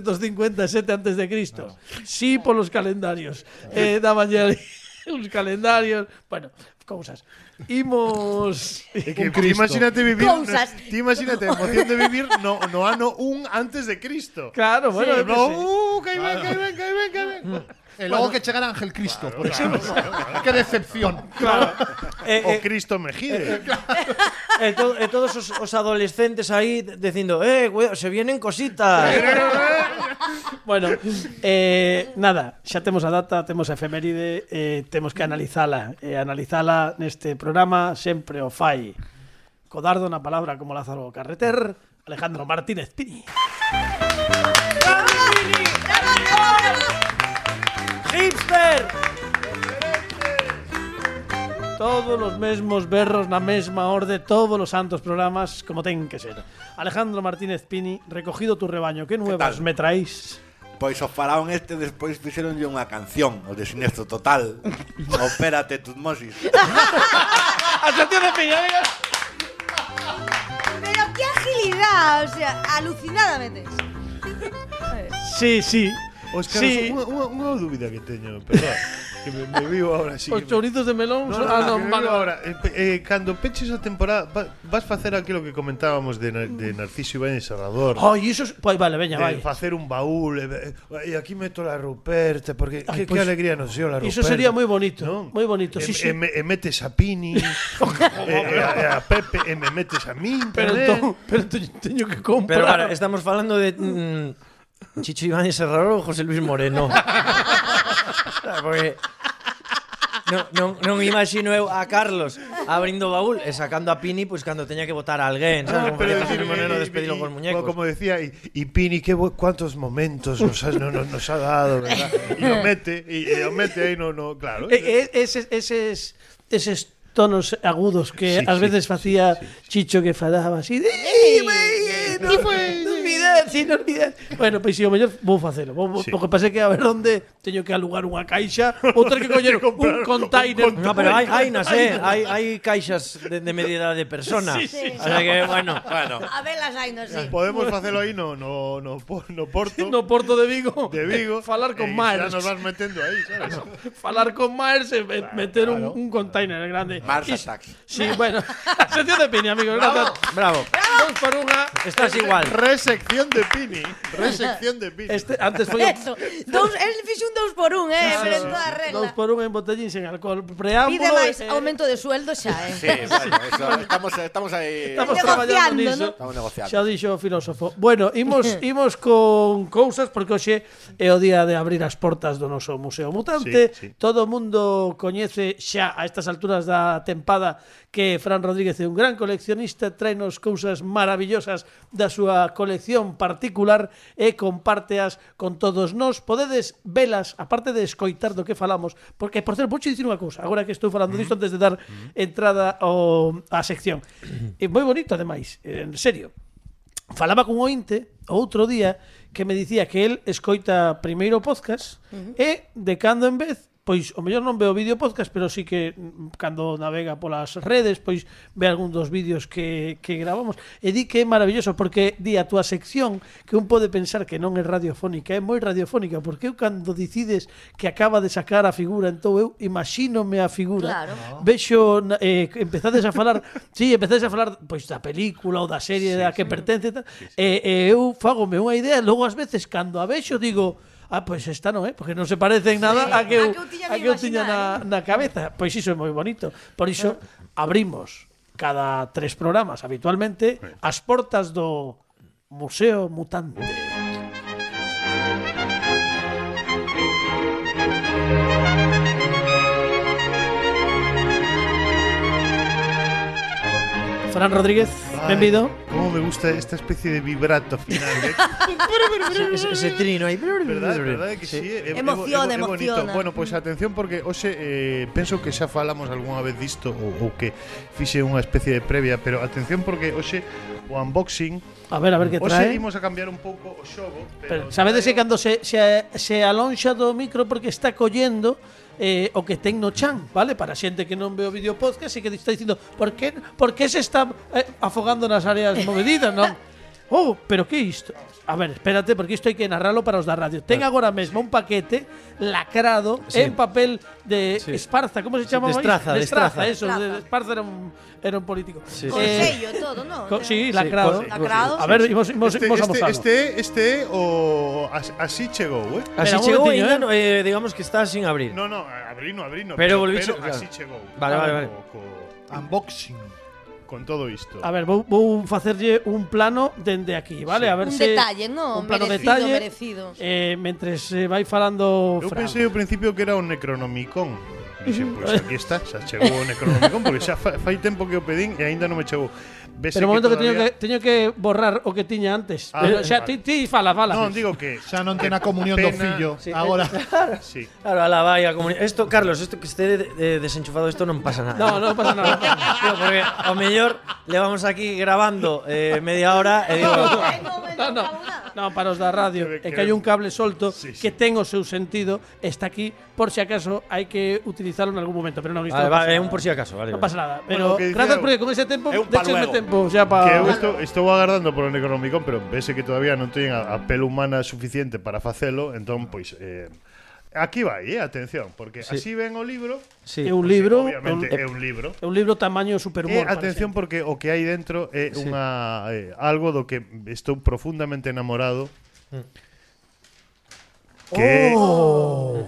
[SPEAKER 2] 1457 antes de Cristo. Sí, polos calendarios. Eh, daban ya os calendarios, bueno, cousas. Imos
[SPEAKER 3] É que ti imagínate vivir.
[SPEAKER 5] Cousas.
[SPEAKER 3] Ti imagínate a emoción de vivir no, no ano un antes de Cristo.
[SPEAKER 2] Claro, bueno, eu que Mm.
[SPEAKER 3] no,
[SPEAKER 2] sei.
[SPEAKER 3] uh, que aí ven, que aí ven, que aí ven, que aí ven.
[SPEAKER 7] E logo que chegara Ángel Cristo, por exemplo. Que decepción.
[SPEAKER 2] Eh,
[SPEAKER 3] O
[SPEAKER 2] eh,
[SPEAKER 3] Cristo Mejide.
[SPEAKER 6] E, to- e todos os, os adolescentes aí de- dicindo, eh, cuidado, se vienen cositas.
[SPEAKER 2] pues, Bueno, eh, nada, xa temos a data, temos a efeméride, eh, temos que analizala. E eh, analizala neste programa sempre o fai. Codardo na palabra como Lázaro Carreter, Alejandro Martínez Pini.
[SPEAKER 6] ¡Hipster!
[SPEAKER 2] Todos os mesmos berros na mesma orde, todos os santos programas como ten que ser. Alejandro Martínez Pini, recogido tu rebaño, que nuevas
[SPEAKER 4] tal?
[SPEAKER 2] me traís?
[SPEAKER 4] Pois o faraón este despois fixeronlle unha canción, o de Sinestro Total. Opérate, Tutmosis.
[SPEAKER 2] A canción de Pini,
[SPEAKER 5] Pero qué agilidad, o sea, alucinadamente.
[SPEAKER 2] Sí, sí.
[SPEAKER 3] Os caros,
[SPEAKER 2] sí.
[SPEAKER 3] unha, unha, unha dúbida que teño, perdón. que me, me vivo ahora sí.
[SPEAKER 2] Os
[SPEAKER 3] que me-
[SPEAKER 2] chorizos de melón Pues
[SPEAKER 3] No,
[SPEAKER 2] son-
[SPEAKER 3] no,
[SPEAKER 2] ah,
[SPEAKER 3] que
[SPEAKER 2] non,
[SPEAKER 3] me
[SPEAKER 2] vale,
[SPEAKER 3] vivo ahora, eh, pe- eh, cando peches a temporada va- vas facer aquilo que comentábamos de, Nar- de Narciso Ibáñez Serrador.
[SPEAKER 2] Ai, iso... es- Pois vale, veña, vai.
[SPEAKER 3] de facer un baúl e, e aquí meto la Ruperta porque
[SPEAKER 2] Ay,
[SPEAKER 3] que, que
[SPEAKER 2] pues,
[SPEAKER 3] alegría nos dio la Ruperta
[SPEAKER 2] iso sería moi bonito, moi bonito,
[SPEAKER 3] e,
[SPEAKER 2] sí, sí.
[SPEAKER 3] e, me- e metes a Pini e, e a, e a Pepe e me metes a min
[SPEAKER 2] Pero
[SPEAKER 3] tamén.
[SPEAKER 2] entón, pero teño, teño que comprar.
[SPEAKER 6] Pero claro, estamos falando de mm, Chicho Iván Serraro ou José Luis Moreno. Claro, Porque non, non, non imagino eu a Carlos abrindo o baúl e sacando a Pini pois cando teña que votar a alguén,
[SPEAKER 3] No,
[SPEAKER 6] sabes? Como que José
[SPEAKER 3] decir,
[SPEAKER 6] Luis Moreno
[SPEAKER 3] eh,
[SPEAKER 6] despedilo
[SPEAKER 3] y-
[SPEAKER 6] cos muñecos.
[SPEAKER 3] Como decía, y, y Pini, qué bu- cuántos momentos nos ha, no- no- nos ha dado, ¿verdad? Y lo mete, y, y lo mete ahí, no, no, claro.
[SPEAKER 2] E- e- eses, eses, eses tonos agudos que
[SPEAKER 3] Sí,
[SPEAKER 2] ás
[SPEAKER 3] sí,
[SPEAKER 2] veces
[SPEAKER 3] sí,
[SPEAKER 2] facía Chicho que falaba así de "Ei, wey, eh, non non olvidar, si, non olvidar". Bueno, pues pois si o mellor vou facelo vou, vou,
[SPEAKER 3] Sí.
[SPEAKER 2] Porque pase que a ver onde teño que alugar unha caixa Ou ter que coller un container
[SPEAKER 6] No, pero hai, hai nas, eh, hai, hai caixas de, de medida de persona.
[SPEAKER 2] Sí,
[SPEAKER 5] sí.
[SPEAKER 6] O sea que, bueno,
[SPEAKER 4] bueno,
[SPEAKER 5] A velas hai, non sei.
[SPEAKER 6] pues,
[SPEAKER 3] Podemos hacerlo ahí, no, no, no, por- no
[SPEAKER 2] eh,
[SPEAKER 3] Porto,
[SPEAKER 2] No Porto de Vigo
[SPEAKER 3] de Vigo.
[SPEAKER 2] Falar con
[SPEAKER 3] y
[SPEAKER 2] Mars
[SPEAKER 3] Ya nos vas metiendo ahí, ¿sabes?
[SPEAKER 2] Falar con Mars e e meter un, un container grande
[SPEAKER 4] Mars
[SPEAKER 2] Y-
[SPEAKER 4] Attacks.
[SPEAKER 2] Sí, bueno Sección de Pini, amigos, gracias
[SPEAKER 6] bravo.
[SPEAKER 2] Dos por unha
[SPEAKER 6] Estás igual.
[SPEAKER 3] Resección de Pini. Resección de Pini.
[SPEAKER 2] Este, antes foi
[SPEAKER 5] Eso. Dous, el fixe un dous por un, eh, pero en toda regla.
[SPEAKER 2] Dous por un en botellín sen alcohol. Preámbulo.
[SPEAKER 5] Pide máis
[SPEAKER 2] eh,
[SPEAKER 5] aumento de sueldo xa, eh.
[SPEAKER 4] Sí, bueno, eso, estamos, estamos aí...
[SPEAKER 2] Estamos
[SPEAKER 5] Negociando,
[SPEAKER 2] traballando niso.
[SPEAKER 5] ¿no?
[SPEAKER 4] Estamos negociando.
[SPEAKER 2] Xa o dixo o filósofo. Bueno, imos imos con cousas porque hoxe é o día de abrir as portas do noso Museo Mutante.
[SPEAKER 3] Sí, sí.
[SPEAKER 2] Todo o mundo coñece xa a estas alturas da tempada que Fran Rodríguez é un gran coleccionista, traenos cousas maravillosas da súa colección particular e compárteas con todos nós. Podedes velas, aparte de escoitar do que falamos, porque, por certo, vouche dicir unha cousa, agora que estou falando
[SPEAKER 3] Mm-hmm.
[SPEAKER 2] disto antes de dar entrada ao, á sección. É moi bonito, ademais, en serio. Falaba cun ointe outro día que me dicía que el escoita primeiro o podcast e de cando en vez pois o mellor non ve o vídeo podcast, pero sí que mm, cando navega polas redes, pois ve algún dos vídeos que, que gravamos. E di que é maravilloso porque di a túa sección que un pode pensar que non é radiofónica, é moi radiofónica, porque eu cando dicides que acaba de sacar a figura, entón eu imagínome a figura.
[SPEAKER 5] Claro.
[SPEAKER 2] Vexo, na- eh, empezades a falar, sí, empezades a falar pois da película ou da serie sí, da que sí. pertence e tal, e, e eu fágome unha idea, logo ás veces cando a vexo digo, ah, pois esta non é, porque non se parece en nada
[SPEAKER 5] Sí,
[SPEAKER 2] a que eu, a
[SPEAKER 5] a que eu tiña me
[SPEAKER 2] que eu tiña na,
[SPEAKER 5] imaginar,
[SPEAKER 2] na cabeza. Pois iso é moi bonito. Por iso abrimos cada tres programas habitualmente as portas do Museo Mutante. Fran Rodríguez,
[SPEAKER 3] Ay,
[SPEAKER 2] benvido.
[SPEAKER 3] Cómo me gusta esta especie de vibrato final, ¿eh?
[SPEAKER 6] Ese, ese trino aí.
[SPEAKER 3] ¿Verdad? ¿Verdad que sí? Em, É- é-
[SPEAKER 5] Emociona,
[SPEAKER 3] é- é bonito.
[SPEAKER 5] emociona.
[SPEAKER 3] Bueno, pois pues, atención porque hoxe eh, penso que xa falamos algunha vez disto ou, ou que fixe unha especie de previa, pero atención porque hoxe o unboxing
[SPEAKER 2] A ver, a ver que
[SPEAKER 3] hoxe
[SPEAKER 2] trae.
[SPEAKER 3] imos a cambiar un pouco o xogo,
[SPEAKER 2] Pero,
[SPEAKER 3] pero,
[SPEAKER 2] sabedes que
[SPEAKER 3] traio-
[SPEAKER 2] cando se, se, se alonxa do micro porque está collendo eh, o que ten no chan, vale? Para a xente que non ve o vídeo podcast e que está dicindo por que, por que se está eh, afogando nas áreas movidas, non? Oh, pero que é isto? A ver, espérate, porque isto hai que narralo para os da radio. Ten agora mesmo un paquete lacrado
[SPEAKER 6] Sí.
[SPEAKER 2] en papel de
[SPEAKER 6] Sí.
[SPEAKER 2] esparza, como se chamaba?
[SPEAKER 6] Destraza,
[SPEAKER 2] isto? Destraza,
[SPEAKER 6] destraza.
[SPEAKER 2] eso,
[SPEAKER 5] Destraza.
[SPEAKER 2] de- esparza era un, era un político.
[SPEAKER 6] Sí,
[SPEAKER 5] Con
[SPEAKER 2] Eh,
[SPEAKER 5] sello e todo, non?
[SPEAKER 2] co- sí,
[SPEAKER 6] Sí,
[SPEAKER 2] lacrado.
[SPEAKER 6] con-
[SPEAKER 5] Lacrado.
[SPEAKER 2] A ver, imos, imos,
[SPEAKER 3] Este,
[SPEAKER 2] imos
[SPEAKER 3] este,
[SPEAKER 2] amosalo.
[SPEAKER 3] este, é- este é o as- así chegou, eh?
[SPEAKER 6] Así
[SPEAKER 2] Espera, un
[SPEAKER 6] chegou
[SPEAKER 2] momentiño,
[SPEAKER 6] ainda,
[SPEAKER 2] eh.
[SPEAKER 6] no, eh, digamos que está sin abrir.
[SPEAKER 3] No, no, abrino, abrino.
[SPEAKER 6] Pero volviche-
[SPEAKER 3] pero así
[SPEAKER 6] claro.
[SPEAKER 3] chegou.
[SPEAKER 6] Vale, vale, vale.
[SPEAKER 3] Co,
[SPEAKER 7] Unboxing.
[SPEAKER 3] co- con todo isto.
[SPEAKER 2] A ver, vou, vou facerlle un plano dende aquí, vale? A ver
[SPEAKER 5] Un
[SPEAKER 2] se
[SPEAKER 5] detalle, non?
[SPEAKER 2] un plano
[SPEAKER 5] merecido,
[SPEAKER 2] detalle.
[SPEAKER 5] merecido.
[SPEAKER 2] Eh, mentre se vai falando
[SPEAKER 3] Eu
[SPEAKER 2] Fran.
[SPEAKER 3] pensei ao principio que era un Necronomicon. Dixe, pois pues, aquí está, xa chegou o Necronomicon, porque xa fa, fai tempo que o pedín e aínda non me chegou. Vese
[SPEAKER 2] Pero un momento que teño que
[SPEAKER 3] todavía-
[SPEAKER 2] teño que borrar o que tiña antes.
[SPEAKER 3] Ah,
[SPEAKER 2] Pero, xa
[SPEAKER 3] vale.
[SPEAKER 2] ti, ti fala, fala.
[SPEAKER 3] Non, digo que...
[SPEAKER 7] Xa non ten a comunión do
[SPEAKER 3] Pena.
[SPEAKER 7] fillo.
[SPEAKER 2] Sí.
[SPEAKER 7] Agora.
[SPEAKER 3] Sí.
[SPEAKER 6] Claro, alá vai a comunidade. Esto, Carlos, esto que esté de- de- desenchufado, esto non pasa nada.
[SPEAKER 2] No, non pasa nada.
[SPEAKER 6] Tío, porque ao mellor levamos aquí grabando eh, media hora e digo,
[SPEAKER 2] Ah, No, no, no, para os da radio É
[SPEAKER 3] Que-
[SPEAKER 2] que
[SPEAKER 3] que-
[SPEAKER 2] hai un cable solto
[SPEAKER 3] Sí, sí.
[SPEAKER 2] Que ten o seu sentido Está aquí, por si acaso hai que utilizarlo en algún momento Pero non, isto
[SPEAKER 6] vale,
[SPEAKER 2] non pasa
[SPEAKER 6] vale, é
[SPEAKER 2] nada.
[SPEAKER 6] un por si acaso, vale.
[SPEAKER 2] Non
[SPEAKER 6] vale.
[SPEAKER 2] pasa nada
[SPEAKER 3] Bueno,
[SPEAKER 2] Pero
[SPEAKER 3] o que dicía
[SPEAKER 2] grazas
[SPEAKER 3] eu-
[SPEAKER 2] porque con ese tempo
[SPEAKER 4] é un
[SPEAKER 2] Déchesme
[SPEAKER 4] paluego.
[SPEAKER 2] tempo xa pa...
[SPEAKER 3] Que eu estou, estou agardando polo Necronomicon, pero vese que todavía non teñen a, a pelo humana suficiente para facelo, entón, pois... Eh, aquí vai, eh, atención, porque sí. así ven o libro... pues,
[SPEAKER 6] Sí.
[SPEAKER 2] É Eh, un libro é un,
[SPEAKER 3] Obviamente é un libro.
[SPEAKER 2] é un libro tamaño
[SPEAKER 3] E
[SPEAKER 2] supermor
[SPEAKER 3] atención porque o que hai dentro é unha eh, algo do que estou profundamente enamorado. Que oh.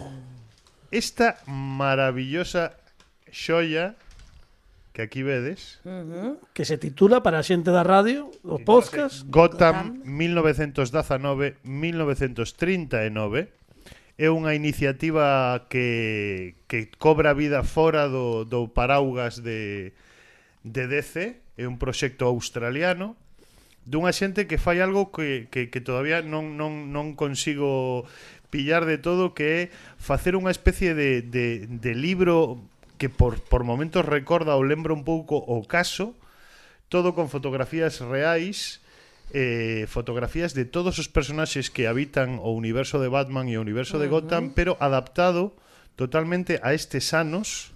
[SPEAKER 3] esta maravillosa xoia que aquí vedes,
[SPEAKER 2] que se titula para a xente da radio, o podcast,
[SPEAKER 3] Gotham 1919-1939, é unha iniciativa que que cobra vida fora do do paraugas de de DC, é un proxecto australiano dunha xente que fai algo que, que, que todavía non, non, non consigo pillar de todo que é facer unha especie de, de, de libro que por, por momentos recorda ou lembra un pouco o caso todo con fotografías reais eh, fotografías de todos os personaxes que habitan o universo de Batman e o universo de Gotham pero adaptado totalmente a estes anos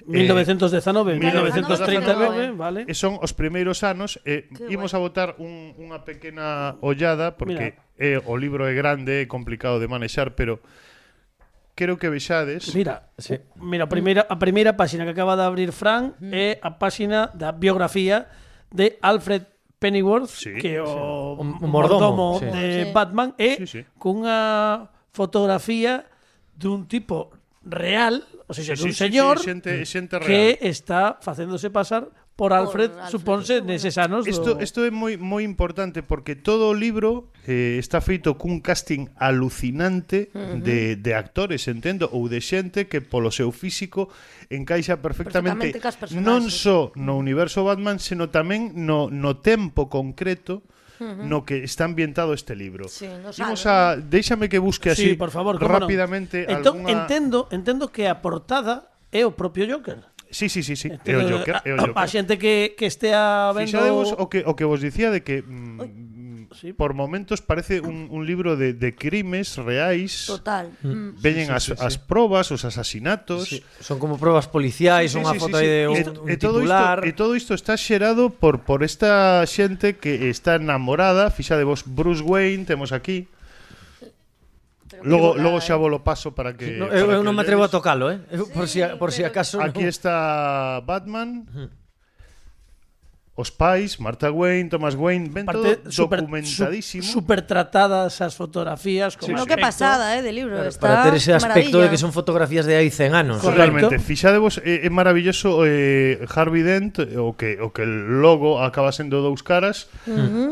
[SPEAKER 3] Eh,
[SPEAKER 2] 1919, 1939,
[SPEAKER 5] 1939,
[SPEAKER 2] vale.
[SPEAKER 3] E eh. son os primeiros anos e imos a botar un, unha pequena ollada porque é, o libro é grande, é complicado de manexar, pero quero que vexades
[SPEAKER 2] Mira,
[SPEAKER 6] Sí.
[SPEAKER 2] mira, a primeira a primeira páxina que acaba de abrir Fran é a páxina da biografía de Alfred Pennyworth,
[SPEAKER 3] Sí,
[SPEAKER 2] que é o,
[SPEAKER 6] O mordomo,
[SPEAKER 2] mordomo,
[SPEAKER 6] sí.
[SPEAKER 2] de
[SPEAKER 5] Sí.
[SPEAKER 2] Batman é
[SPEAKER 3] Sí, sí.
[SPEAKER 2] cunha fotografía dun tipo real, ou sexa,
[SPEAKER 3] Sí,
[SPEAKER 2] dun
[SPEAKER 3] sí,
[SPEAKER 2] señor
[SPEAKER 3] sí, xente, xente
[SPEAKER 2] que
[SPEAKER 3] real.
[SPEAKER 2] está facéndose pasar por Alfred,
[SPEAKER 5] Alfred,
[SPEAKER 2] suponse, neses anos
[SPEAKER 3] Isto
[SPEAKER 2] do...
[SPEAKER 3] isto é moi moi importante porque todo o libro eh, está feito cun casting alucinante de, de actores, entendo, ou de xente que polo seu físico encaixa perfectamente,
[SPEAKER 5] Perfectamente cas personaxes.
[SPEAKER 3] non só no universo Batman, sino tamén no, no tempo concreto no que está ambientado este libro.
[SPEAKER 5] Sí, no
[SPEAKER 3] Imos a
[SPEAKER 5] sabe,
[SPEAKER 3] déixame que busque
[SPEAKER 2] sí,
[SPEAKER 3] así
[SPEAKER 2] por favor, cómo non.
[SPEAKER 3] rápidamente
[SPEAKER 2] entón,
[SPEAKER 3] alguna-
[SPEAKER 2] entendo, entendo que a portada é o propio Joker.
[SPEAKER 3] Sí, sí, sí, sí, é o
[SPEAKER 2] Entendo,
[SPEAKER 3] Joker, é
[SPEAKER 2] a-
[SPEAKER 3] o
[SPEAKER 2] A,
[SPEAKER 3] Joker.
[SPEAKER 2] xente que, que estea vendo...
[SPEAKER 3] Fixadevos o que, o que vos dicía de que mm, mm,
[SPEAKER 2] Sí.
[SPEAKER 3] por momentos parece un, un libro de, de crimes reais.
[SPEAKER 5] Total. Mm.
[SPEAKER 3] Veñen as, as probas, os asasinatos.
[SPEAKER 6] Sí, son como probas policiais, son unha foto aí de un,
[SPEAKER 3] E-
[SPEAKER 6] un
[SPEAKER 3] e todo
[SPEAKER 6] titular.
[SPEAKER 3] Isto, e todo isto está xerado por por esta xente que está enamorada, fixa de vos Bruce Wayne, temos aquí. Logo, logo xa volo paso para que
[SPEAKER 6] Eh, no,
[SPEAKER 3] para
[SPEAKER 6] eu,
[SPEAKER 3] que
[SPEAKER 6] eu non
[SPEAKER 3] o
[SPEAKER 6] me atrevo a
[SPEAKER 3] lleves.
[SPEAKER 6] tocalo, eh? Eu, por si a- por si acaso.
[SPEAKER 3] Aquí
[SPEAKER 6] non.
[SPEAKER 3] está Batman. Os pais, Martha Wayne, Thomas Wayne, ven
[SPEAKER 2] Parte
[SPEAKER 3] todo
[SPEAKER 2] super,
[SPEAKER 3] documentadísimo.
[SPEAKER 2] super tratadas as fotografías. Como
[SPEAKER 5] Bueno,
[SPEAKER 2] aspecto.
[SPEAKER 5] qué pasada, ¿eh? De libro. Está
[SPEAKER 6] Para ter ese aspecto
[SPEAKER 5] maravilla.
[SPEAKER 6] de que son fotografías de hai 100 anos.
[SPEAKER 2] Correcto.
[SPEAKER 3] Totalmente. Fixadevos, é, é maravilloso eh, Harvey Dent, o que o que logo acaba sendo dous caras.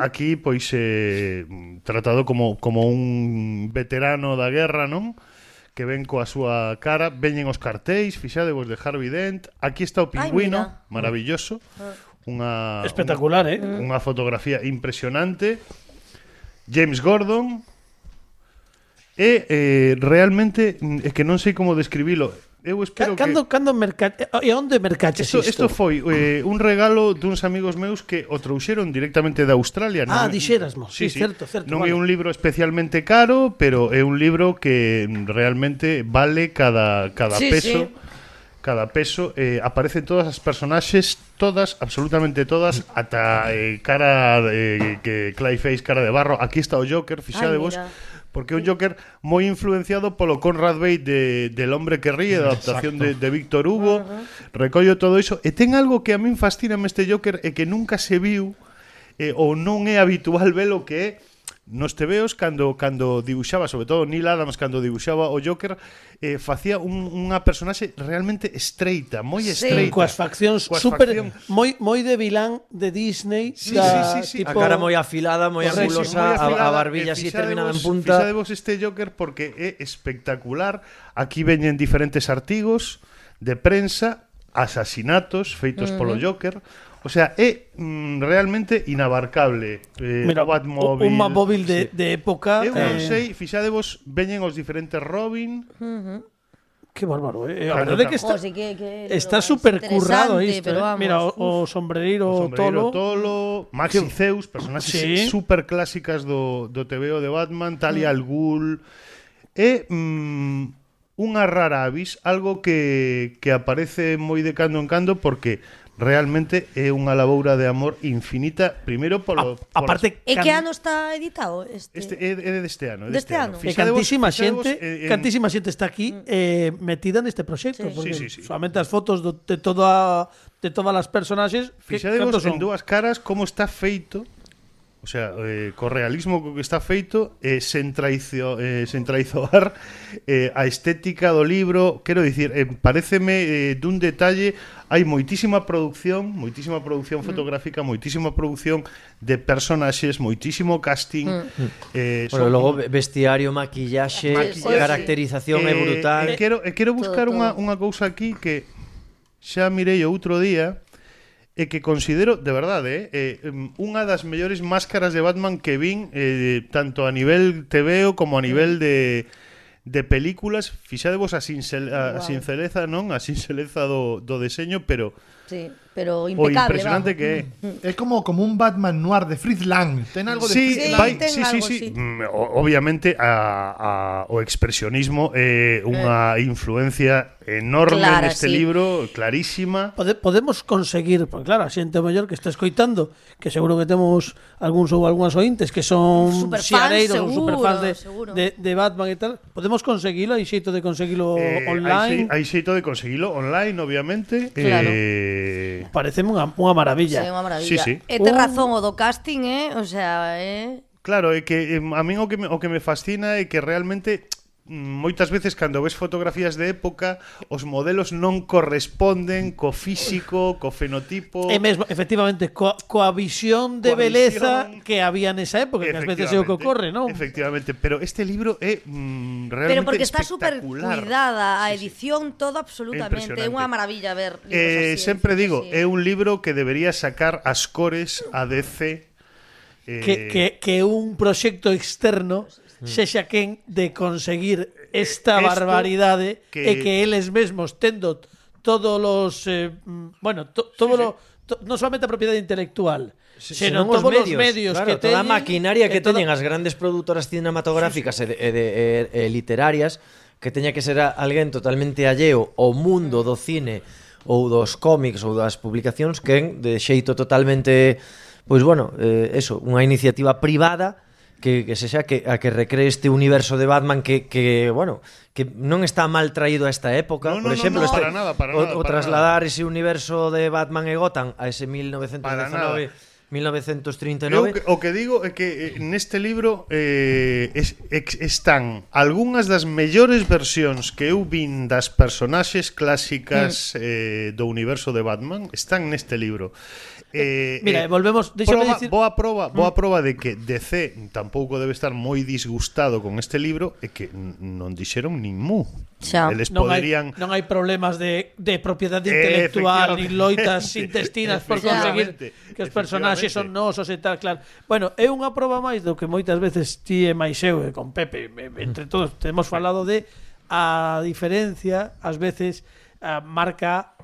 [SPEAKER 3] Aquí pois eh, tratado como como un veterano da guerra, non? Que ven coa súa cara, veñen os cartéis, fixadevos de Harvey Dent. Aquí está o
[SPEAKER 5] Ai,
[SPEAKER 3] pingüino,
[SPEAKER 5] mira.
[SPEAKER 3] maravilloso.
[SPEAKER 2] Ah.
[SPEAKER 3] Unha
[SPEAKER 2] Espectacular, eh?
[SPEAKER 3] unha- Unha fotografía impresionante. James Gordon, E eh, realmente mm, é que non sei como describilo. Eu espero
[SPEAKER 2] Ca- Cando,
[SPEAKER 3] que
[SPEAKER 2] cando merca... eh, E onde mercaches
[SPEAKER 3] Isto,
[SPEAKER 2] isto?
[SPEAKER 3] isto foi eh, un regalo duns amigos meus que o trouxeron directamente de Australia.
[SPEAKER 2] Ah,
[SPEAKER 3] non-
[SPEAKER 2] dixérasmo. Sí, certo, certo,
[SPEAKER 3] Non é
[SPEAKER 2] vale.
[SPEAKER 3] un libro especialmente caro, pero é un libro que mm, realmente vale cada, cada
[SPEAKER 5] Sí,
[SPEAKER 3] peso.
[SPEAKER 5] sí.
[SPEAKER 3] Cada peso eh, aparecen todas as personaxes, todas, absolutamente todas, ata eh, cara eh, que Clayface, cara de barro. Aquí está o Joker, fixadevos.
[SPEAKER 5] mira.
[SPEAKER 3] Porque é un Joker moi influenciado polo Conrad Bate de, del Hombre que ríe, da adaptación de, de Víctor Hugo. Recollo todo iso. E ten algo que a min fascina este Joker e que nunca se viu eh, ou non é habitual velo que é nos tebeos cando cando dibuixaba, sobre todo Neil Adams cando dibuixaba o Joker, eh, facía un, unha personaxe realmente estreita, moi
[SPEAKER 5] Sí.
[SPEAKER 3] estreita.
[SPEAKER 2] Coas faccións
[SPEAKER 3] Coas
[SPEAKER 2] super
[SPEAKER 3] facción-
[SPEAKER 2] moi moi de vilán de Disney,
[SPEAKER 3] Sí,
[SPEAKER 2] da
[SPEAKER 3] sí, sí, sí.
[SPEAKER 6] A
[SPEAKER 2] tipo
[SPEAKER 6] cara moi afilada, moi
[SPEAKER 2] Correcto, eh,
[SPEAKER 6] angulosa, a, a barbilla así terminada en
[SPEAKER 3] eh,
[SPEAKER 6] punta.
[SPEAKER 3] Fixadevos este Joker porque é espectacular. Aquí veñen diferentes artigos de prensa, asasinatos feitos polo Joker. O sea, é mm, realmente inabarcable. Eh,
[SPEAKER 2] mira,
[SPEAKER 3] o Batmóvil,
[SPEAKER 2] un Batmóvil de, de época.
[SPEAKER 3] Eu
[SPEAKER 2] eh,
[SPEAKER 3] non sei, fixadevos, veñen os diferentes Robin,
[SPEAKER 2] Que bárbaro, eh. A
[SPEAKER 3] Claro,
[SPEAKER 2] verdade é que
[SPEAKER 5] Oh,
[SPEAKER 2] está
[SPEAKER 5] sí, que- que
[SPEAKER 2] está
[SPEAKER 5] es
[SPEAKER 2] super currado
[SPEAKER 5] interesante,
[SPEAKER 2] isto.
[SPEAKER 5] pero
[SPEAKER 2] eh.
[SPEAKER 5] vamos,
[SPEAKER 2] Mira, o, o
[SPEAKER 3] o
[SPEAKER 2] sombreiro, tolo.
[SPEAKER 3] Sombreiro Tolo, Maxi
[SPEAKER 2] Que-
[SPEAKER 3] Zeus, personaxes
[SPEAKER 2] Sí.
[SPEAKER 3] super clásicas do, do TVO de Batman, Talia al Ghul, e mm, unha rara avis, algo que, que aparece moi de cando en cando porque realmente é unha laboura de amor infinita, primeiro polo...
[SPEAKER 2] A- aparte
[SPEAKER 5] ¿En qué
[SPEAKER 2] can-
[SPEAKER 5] ano está editado este?
[SPEAKER 3] Este, é, é deste ano. é
[SPEAKER 5] Deste ano.
[SPEAKER 2] Que
[SPEAKER 3] Fixadevos-
[SPEAKER 2] cantísima
[SPEAKER 3] fixadevos,
[SPEAKER 2] xente,
[SPEAKER 3] eh, en-
[SPEAKER 2] cantísima xente está aquí eh, metida neste proxecto,
[SPEAKER 5] Mm. Sí.
[SPEAKER 2] porque
[SPEAKER 3] Sí, sí, sí.
[SPEAKER 2] solamente as fotos do, de toda de todas as personaxes, que cantos
[SPEAKER 3] Fixadevos en
[SPEAKER 2] son?
[SPEAKER 3] dúas caras como está feito O sea, eh, co realismo co que está feito eh, sen, traicio, eh, sen traizoar eh, a estética do libro Quero dicir, eh, pareceme eh, dun detalle Hai moitísima producción, moitísima producción
[SPEAKER 2] Mm.
[SPEAKER 3] fotográfica Moitísima producción de personaxes, moitísimo
[SPEAKER 2] Mm.
[SPEAKER 3] casting eh, son-
[SPEAKER 6] Bueno, logo ve- vestiario, maquillaxe,
[SPEAKER 5] Maquillaxe.
[SPEAKER 6] caracterización é
[SPEAKER 3] Eh,
[SPEAKER 6] brutal.
[SPEAKER 3] E quero, e quero buscar
[SPEAKER 5] Todo,
[SPEAKER 3] unha,
[SPEAKER 5] todo.
[SPEAKER 3] unha cousa aquí que xa mirei o outro día e que considero, de verdade, eh, eh, em, unha das mellores máscaras de Batman que vin eh, tanto a nivel TVO como a nivel de de películas, fixadevos a, sincel, a, a
[SPEAKER 5] Guau.
[SPEAKER 3] sinceleza, non? A sinceleza do, do deseño, pero
[SPEAKER 5] Sí,
[SPEAKER 3] o
[SPEAKER 5] pero impecable.
[SPEAKER 3] impresionante
[SPEAKER 5] vamos.
[SPEAKER 3] que é.
[SPEAKER 7] Mm. Es como, como un Batman noir de Fritz Lang. Ten algo de
[SPEAKER 3] Sí,
[SPEAKER 7] Fritz
[SPEAKER 5] Sí,
[SPEAKER 7] Lang.
[SPEAKER 3] vai-
[SPEAKER 5] ten
[SPEAKER 3] sí,
[SPEAKER 5] algo,
[SPEAKER 3] sí, sí.
[SPEAKER 5] sí.
[SPEAKER 3] Mm, o- Obviamente a, a, o expresionismo é unha influencia enorme
[SPEAKER 5] Eh. Clara,
[SPEAKER 3] neste
[SPEAKER 5] sí.
[SPEAKER 3] libro, clarísima.
[SPEAKER 2] Pode, podemos conseguir, porque claro, a xente maior que está escoitando, que seguro que temos algúns ou algúns ointes que son
[SPEAKER 5] Superfans,
[SPEAKER 2] xiareiros ou
[SPEAKER 5] seguro,
[SPEAKER 2] superfans de,
[SPEAKER 5] seguro.
[SPEAKER 2] de, de Batman e tal, podemos conseguilo, hai xeito de conseguilo
[SPEAKER 3] Eh,
[SPEAKER 2] online.
[SPEAKER 3] Hai, xe- hai xeito de conseguilo online, obviamente.
[SPEAKER 5] Claro.
[SPEAKER 3] Eh,
[SPEAKER 2] Pareceme unha, unha maravilla.
[SPEAKER 5] Sí, unha maravilla.
[SPEAKER 3] Sí, sí.
[SPEAKER 5] E
[SPEAKER 2] Oh.
[SPEAKER 5] te razón o do casting, eh? O sea, eh?
[SPEAKER 3] Claro, é que em, a min o que me, o que me fascina é que realmente mm, moitas veces cando ves fotografías de época os modelos non corresponden co físico, co fenotipo.
[SPEAKER 2] E mesmo, efectivamente, coa, coa visión de
[SPEAKER 3] Coa
[SPEAKER 2] beleza
[SPEAKER 3] visión.
[SPEAKER 2] que había nesa época, que ás veces é o que ocorre, non?
[SPEAKER 3] Efectivamente, pero este libro é mm, realmente
[SPEAKER 5] Pero porque está super
[SPEAKER 3] espectacular.
[SPEAKER 5] cuidada a edición todo absolutamente,
[SPEAKER 3] Impresionante.
[SPEAKER 5] é unha maravilla ver. libros
[SPEAKER 3] Eh,
[SPEAKER 5] así,
[SPEAKER 3] sempre
[SPEAKER 5] libros
[SPEAKER 3] digo,
[SPEAKER 5] así.
[SPEAKER 3] é un libro que debería sacar as cores a DC eh,
[SPEAKER 2] que, que, que un proxecto externo se xaquen de conseguir esta
[SPEAKER 3] Mm. Esto
[SPEAKER 2] barbaridade
[SPEAKER 3] que-
[SPEAKER 2] e que eles mesmos tendo todos os eh, mm, bueno, to, todo lo, to- non solamente a propiedade intelectual,
[SPEAKER 6] Se-
[SPEAKER 2] senón
[SPEAKER 6] senón os
[SPEAKER 2] todos os medios
[SPEAKER 6] medios, claro,
[SPEAKER 2] que
[SPEAKER 6] toda a
[SPEAKER 2] teñen,
[SPEAKER 6] maquinaria
[SPEAKER 2] e
[SPEAKER 6] que
[SPEAKER 2] toda-
[SPEAKER 6] teñen as grandes produtoras cinematográficas e, de, e de, e- e literarias que teña que ser a- alguén totalmente alleo ao mundo do cine ou dos cómics ou das publicacións que de xeito totalmente pois bueno, eh, eso, unha iniciativa privada que, que sexa que, a que recree este universo de Batman que, que bueno, que non está mal traído a esta época,
[SPEAKER 3] No, no,
[SPEAKER 6] por
[SPEAKER 3] no,
[SPEAKER 6] exemplo,
[SPEAKER 3] no,
[SPEAKER 6] este-
[SPEAKER 3] para nada, para
[SPEAKER 6] o,
[SPEAKER 3] nada,
[SPEAKER 6] o
[SPEAKER 3] para
[SPEAKER 6] trasladar ese universo de Batman e Gotham a ese 1919
[SPEAKER 3] Para nada.
[SPEAKER 6] 1939
[SPEAKER 3] Eu que- o que digo é que eh, neste libro eh, es, ex, están algunhas das mellores versións que eu vin das personaxes
[SPEAKER 2] Mm.
[SPEAKER 3] clásicas eh, do universo de Batman están neste libro. Eh,
[SPEAKER 2] Mira,
[SPEAKER 3] eh,
[SPEAKER 2] volvemos- déxame Mm.
[SPEAKER 3] proba,
[SPEAKER 2] dicir-
[SPEAKER 3] boa proba, boa proba de que DC tampouco debe estar moi disgustado con este libro e que n- non dixeron nin mu.
[SPEAKER 5] Xa.
[SPEAKER 3] Eles
[SPEAKER 2] non hai,
[SPEAKER 3] poderían
[SPEAKER 2] non hai problemas de, de propiedade intelectual ni loitas intestinas por conseguir
[SPEAKER 3] Efectivamente,
[SPEAKER 2] que os personaxes son
[SPEAKER 3] efectivamente.
[SPEAKER 2] nosos e tal, claro. Bueno, é unha proba máis do que moitas veces ti e máis eu e con Pepe, e- entre todos temos falado de a diferencia ás veces a marca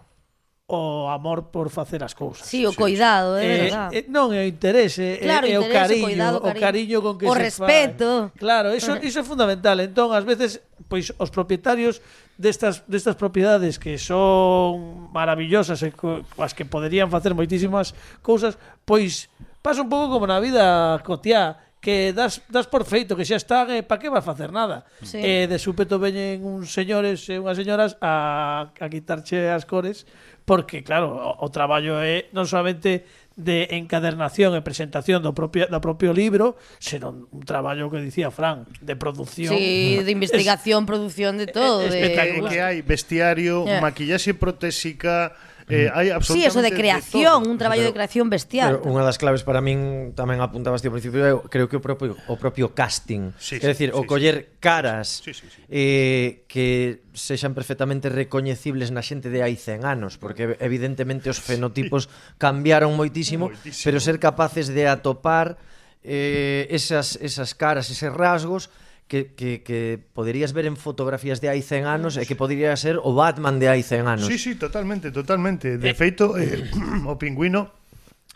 [SPEAKER 2] o amor por facer as cousas.
[SPEAKER 5] Sí, o coidado, é
[SPEAKER 2] Eh,
[SPEAKER 5] verdad.
[SPEAKER 2] eh, non é o interese, é-
[SPEAKER 5] Claro,
[SPEAKER 2] é, o
[SPEAKER 5] interese,
[SPEAKER 2] cariño,
[SPEAKER 5] coidado,
[SPEAKER 2] o cariño
[SPEAKER 5] cariño.
[SPEAKER 2] con que
[SPEAKER 5] O
[SPEAKER 2] se
[SPEAKER 5] respeto.
[SPEAKER 2] fai. Claro, iso iso é fundamental. Entón, ás veces, pois os propietarios destas destas propiedades que son maravillosas e co- as que poderían facer moitísimas cousas, pois pasa un pouco como na vida cotiá que das, das por feito que xa están e pa que vas facer nada. Eh,
[SPEAKER 5] Sí.
[SPEAKER 2] E de súpeto veñen uns señores e unhas señoras a, a quitarche as cores porque claro, o, o traballo é non solamente de encadernación e presentación do propio do propio libro, senón un traballo que dicía Fran, de producción.
[SPEAKER 5] Sí, de investigación, producción, de todo.
[SPEAKER 2] eh, es-
[SPEAKER 3] Eh,
[SPEAKER 5] De...
[SPEAKER 3] que hai vestiario,
[SPEAKER 5] Yeah.
[SPEAKER 3] maquillaxe protésica,
[SPEAKER 2] Mm.
[SPEAKER 3] eh, hai
[SPEAKER 5] Eh. Sí,
[SPEAKER 3] absolutamente
[SPEAKER 5] eso de creación, un traballo de creación bestial.
[SPEAKER 6] Pero unha das claves para min tamén apuntabas ti ao principio, eu creo que o propio o propio casting,
[SPEAKER 3] Sí, sí,
[SPEAKER 6] é dicir,
[SPEAKER 3] sí, sí.
[SPEAKER 6] o coller caras
[SPEAKER 3] Sí, sí, sí.
[SPEAKER 6] eh que sexan perfectamente recoñecibles na xente de hai 100 anos, porque evidentemente os fenotipos cambiaron moitísimo,
[SPEAKER 3] Moitísimo.
[SPEAKER 6] pero ser capaces de atopar eh esas esas caras, eses rasgos que, que, que poderías ver en fotografías de hai 100 anos e que podería ser o Batman de hai 100 anos.
[SPEAKER 3] Sí, sí, totalmente, totalmente. De feito, eh, o pingüino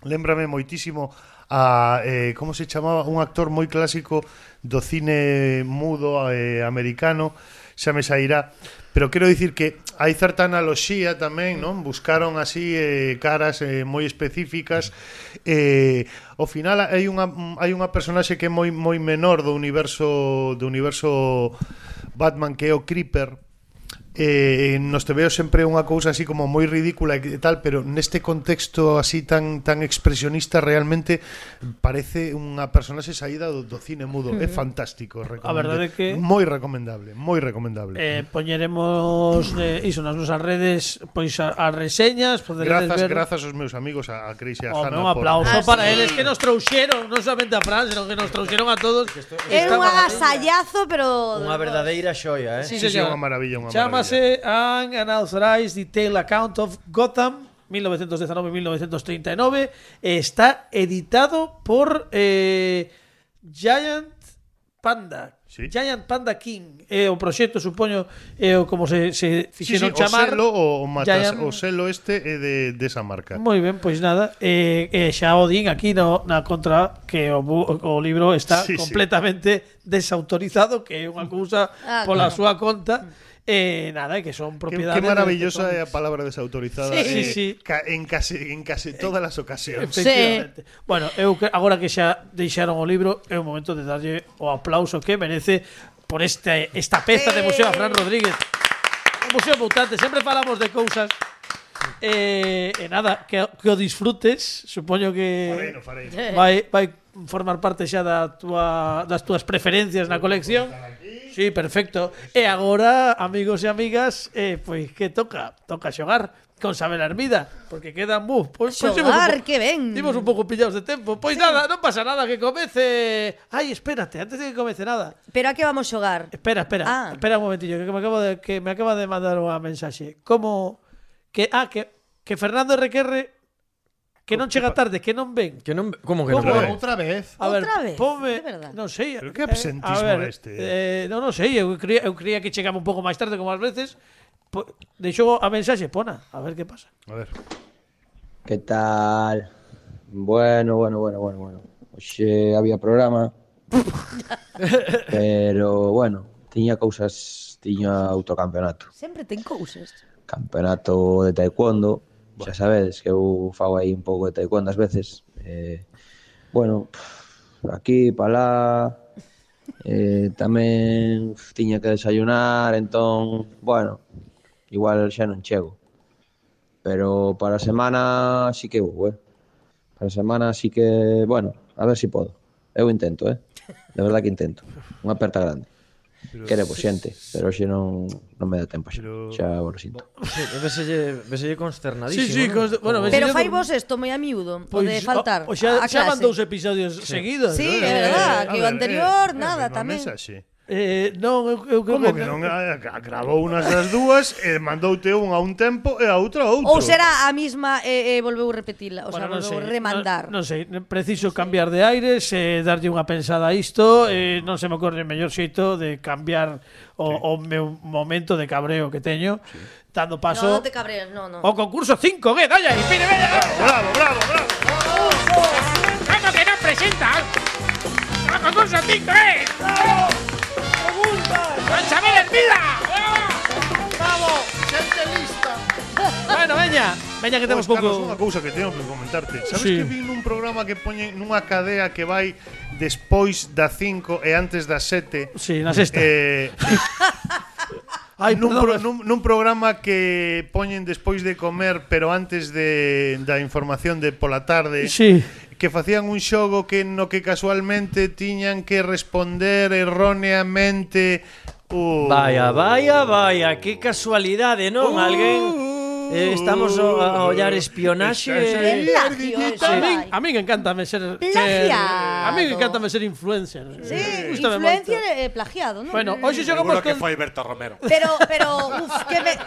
[SPEAKER 3] lembrame moitísimo a eh, como se chamaba un actor moi clásico do cine mudo eh, americano, xa me sairá, pero quero dicir que hai certa analoxía tamén, non? Buscaron así eh, caras eh, moi específicas eh, ao final hai unha hai unha personaxe que é moi moi menor do universo do universo Batman que é o Creeper, eh, nos te veo sempre unha cousa así como moi ridícula e que tal, pero neste contexto así tan tan expresionista realmente parece unha personaxe saída do, do cine mudo. É fantástico,
[SPEAKER 2] A verdade é que-
[SPEAKER 3] moi recomendable, moi recomendable.
[SPEAKER 2] Eh, poñeremos eh, iso nas nosas redes pois a- as reseñas, poderedes
[SPEAKER 3] grazas,
[SPEAKER 2] ver.
[SPEAKER 3] grazas aos meus amigos a, a Cris e a
[SPEAKER 2] Home,
[SPEAKER 3] Hanna.
[SPEAKER 2] un
[SPEAKER 3] por-
[SPEAKER 2] aplauso
[SPEAKER 5] Ah,
[SPEAKER 2] para
[SPEAKER 5] sí.
[SPEAKER 2] eles que nos trouxeron, non solamente a Fran, senón que nos trouxeron a todos.
[SPEAKER 5] É
[SPEAKER 2] Esta
[SPEAKER 5] un
[SPEAKER 2] maravilla.
[SPEAKER 5] agasallazo, pero...
[SPEAKER 6] Unha verdadeira xoia, eh?
[SPEAKER 2] Sí,
[SPEAKER 3] Sí, sí,
[SPEAKER 2] señor.
[SPEAKER 3] unha maravilla, unha
[SPEAKER 2] Chámase An Unauthorized Detail Account of Gotham 1919-1939. Está editado por eh, Giant Panda.
[SPEAKER 3] Sí.
[SPEAKER 2] Giant Panda King. É o proxecto, supoño, é o como se, se
[SPEAKER 3] Sí, sí,
[SPEAKER 2] fixeron
[SPEAKER 3] o
[SPEAKER 2] chamar.
[SPEAKER 3] selo, o, o, matas,
[SPEAKER 2] Giant-
[SPEAKER 3] o selo este é de, de esa marca.
[SPEAKER 2] Moi ben, pois nada, eh, eh, xa o din aquí no, na contra que o, bu- o libro está
[SPEAKER 3] Sí, sí.
[SPEAKER 2] completamente desautorizado, que é unha cousa
[SPEAKER 5] Ah,
[SPEAKER 2] pola
[SPEAKER 5] claro.
[SPEAKER 2] súa conta, eh, nada, e que son
[SPEAKER 3] Qué,
[SPEAKER 2] propiedades... de-
[SPEAKER 3] qué maravillosa é a palabra desautorizada
[SPEAKER 2] Sí,
[SPEAKER 3] eh,
[SPEAKER 2] sí, sí.
[SPEAKER 3] ca- en case en case todas as ocasións.
[SPEAKER 2] Efectivamente. Bueno, eu que, agora que xa deixaron o libro, é o momento de darlle o aplauso que merece por este esta peza de Museo a Fran Rodríguez. Un museo mutante, sempre falamos de cousas. Eh, e nada, que, que o disfrutes, supoño que
[SPEAKER 3] Fareno, fareno.
[SPEAKER 2] vai vai formar parte xa da túa das túas preferencias na colección. Sí, perfecto. E agora, amigos e amigas, eh, pois que toca, toca xogar con Sabela Hermida, porque quedan buf, pois pois
[SPEAKER 5] Xogar,
[SPEAKER 2] imos Pues un po-
[SPEAKER 5] Pues que ben.
[SPEAKER 2] Imos un pouco pillados de tempo. Pois nada, non pasa nada que comece. Ai, espérate, antes de que comece nada.
[SPEAKER 5] Pero a que vamos xogar?
[SPEAKER 2] Espera, espera,
[SPEAKER 5] Ah.
[SPEAKER 2] espera un momentillo, que me acabo de que me acaba de mandar unha mensaxe. Como que ah, que que Fernando RQR que non chega tarde, que non ven.
[SPEAKER 6] Que non, como que
[SPEAKER 2] Como
[SPEAKER 6] non?
[SPEAKER 3] Outra
[SPEAKER 7] Outra,
[SPEAKER 3] vez.
[SPEAKER 7] vez.
[SPEAKER 2] A ver,
[SPEAKER 5] Outra vez,
[SPEAKER 2] ponme,
[SPEAKER 5] de verdad.
[SPEAKER 2] non sei.
[SPEAKER 3] Pero
[SPEAKER 2] Pero
[SPEAKER 3] que absentismo este,
[SPEAKER 2] Eh, non, non sei, eu creía, eu creía que chegaba un pouco máis tarde como ás veces. Po, deixou a mensaxe, pona, a ver que pasa.
[SPEAKER 3] A ver.
[SPEAKER 8] ¿Qué tal? Bueno, bueno, bueno, bueno, bueno. Oxe, había programa. pero bueno, tiña cousas, tiña autocampeonato.
[SPEAKER 5] Sempre ten cousas.
[SPEAKER 8] Campeonato de taekwondo. Xa sabedes que eu fago aí un pouco de taekwondo ás veces. Eh, bueno, pff, aquí, pa lá, eh, tamén pff, tiña que desayunar, entón, bueno, igual xa non chego. Pero para a semana sí que vou, eh. Para a semana sí que, bueno, a ver si podo. Eu intento, eh. De verdad que intento. Unha aperta grande. Quere por xente, pero xe non, non me dá tempo xa.
[SPEAKER 3] Pero-
[SPEAKER 8] Xa o sinto.
[SPEAKER 6] Sí, veselle, veselle consternadísimo.
[SPEAKER 2] Sí, sí,
[SPEAKER 6] non?
[SPEAKER 2] const- bueno,
[SPEAKER 6] Como-
[SPEAKER 2] ves-
[SPEAKER 5] Pero
[SPEAKER 2] Pues yo- Pues
[SPEAKER 5] fai vos esto moi a miúdo,
[SPEAKER 2] Pois,
[SPEAKER 5] pode faltar.
[SPEAKER 2] O, o xa,
[SPEAKER 5] a
[SPEAKER 2] xa van
[SPEAKER 5] clase.
[SPEAKER 2] dous episodios seguidos.
[SPEAKER 5] Sí,
[SPEAKER 2] non?
[SPEAKER 5] é verdad,
[SPEAKER 3] Eh, a
[SPEAKER 5] que o
[SPEAKER 3] ver, eh,
[SPEAKER 5] anterior,
[SPEAKER 3] é a
[SPEAKER 5] nada,
[SPEAKER 3] mesma
[SPEAKER 5] tamén.
[SPEAKER 3] mensaxe.
[SPEAKER 2] Eh, non, eu, eu creo
[SPEAKER 3] Como que non Ah, grabou unas das dúas e mandoute un a un tempo e a outra a outro.
[SPEAKER 5] Ou Oh, será a mesma e eh, eh, volveu repetila, o sea,
[SPEAKER 2] Bueno, non sei,
[SPEAKER 5] volveu remandar.
[SPEAKER 2] Non, non sei, preciso cambiar de aires, eh, darlle unha pensada a isto, eh, non se me ocorre mellor xeito de cambiar o, o meu momento de cabreo que teño, dando paso
[SPEAKER 5] no, non te cabreas, no, no.
[SPEAKER 2] ao concurso 5G, dalla aí, pide, vella.
[SPEAKER 3] Bravo, bravo, bravo.
[SPEAKER 9] ¡Vamos que nos presenta! ¡A concurso 5E! ¡Manchabel en vida!
[SPEAKER 2] Bueno, veña, veña que temos
[SPEAKER 3] Pois, Pues, Carlos,
[SPEAKER 2] pouco.
[SPEAKER 3] unha cousa que teño que comentarte. Sabes
[SPEAKER 2] Sí.
[SPEAKER 3] que vi nun programa que poñen nunha cadea que vai despois da 5 e antes das 7?
[SPEAKER 2] Sí, na sexta.
[SPEAKER 3] Eh,
[SPEAKER 2] Ai,
[SPEAKER 3] nun,
[SPEAKER 2] perdón,
[SPEAKER 3] pro, nun, nun programa que poñen despois de comer, pero antes de da información de pola tarde,
[SPEAKER 2] Sí.
[SPEAKER 3] que facían un xogo que no que casualmente tiñan que responder erróneamente Uh,
[SPEAKER 6] Vaya, vaya, vaya, qué casualidade, non? Alguén eh, estamos o- a ollar espionaxe.
[SPEAKER 5] Estás Plagio,
[SPEAKER 2] A min,
[SPEAKER 5] Ai.
[SPEAKER 2] a min encantame ser, ser
[SPEAKER 5] Plagiado.
[SPEAKER 2] A min encantame ser influencer.
[SPEAKER 5] Sí,
[SPEAKER 2] Gústame
[SPEAKER 5] influencia
[SPEAKER 2] moito.
[SPEAKER 5] de, eh, plagiado, non?
[SPEAKER 2] Bueno, hoxe xogamos
[SPEAKER 4] Seguro que
[SPEAKER 2] con
[SPEAKER 4] foi Berto Romero.
[SPEAKER 5] Pero, pero, uf, que me...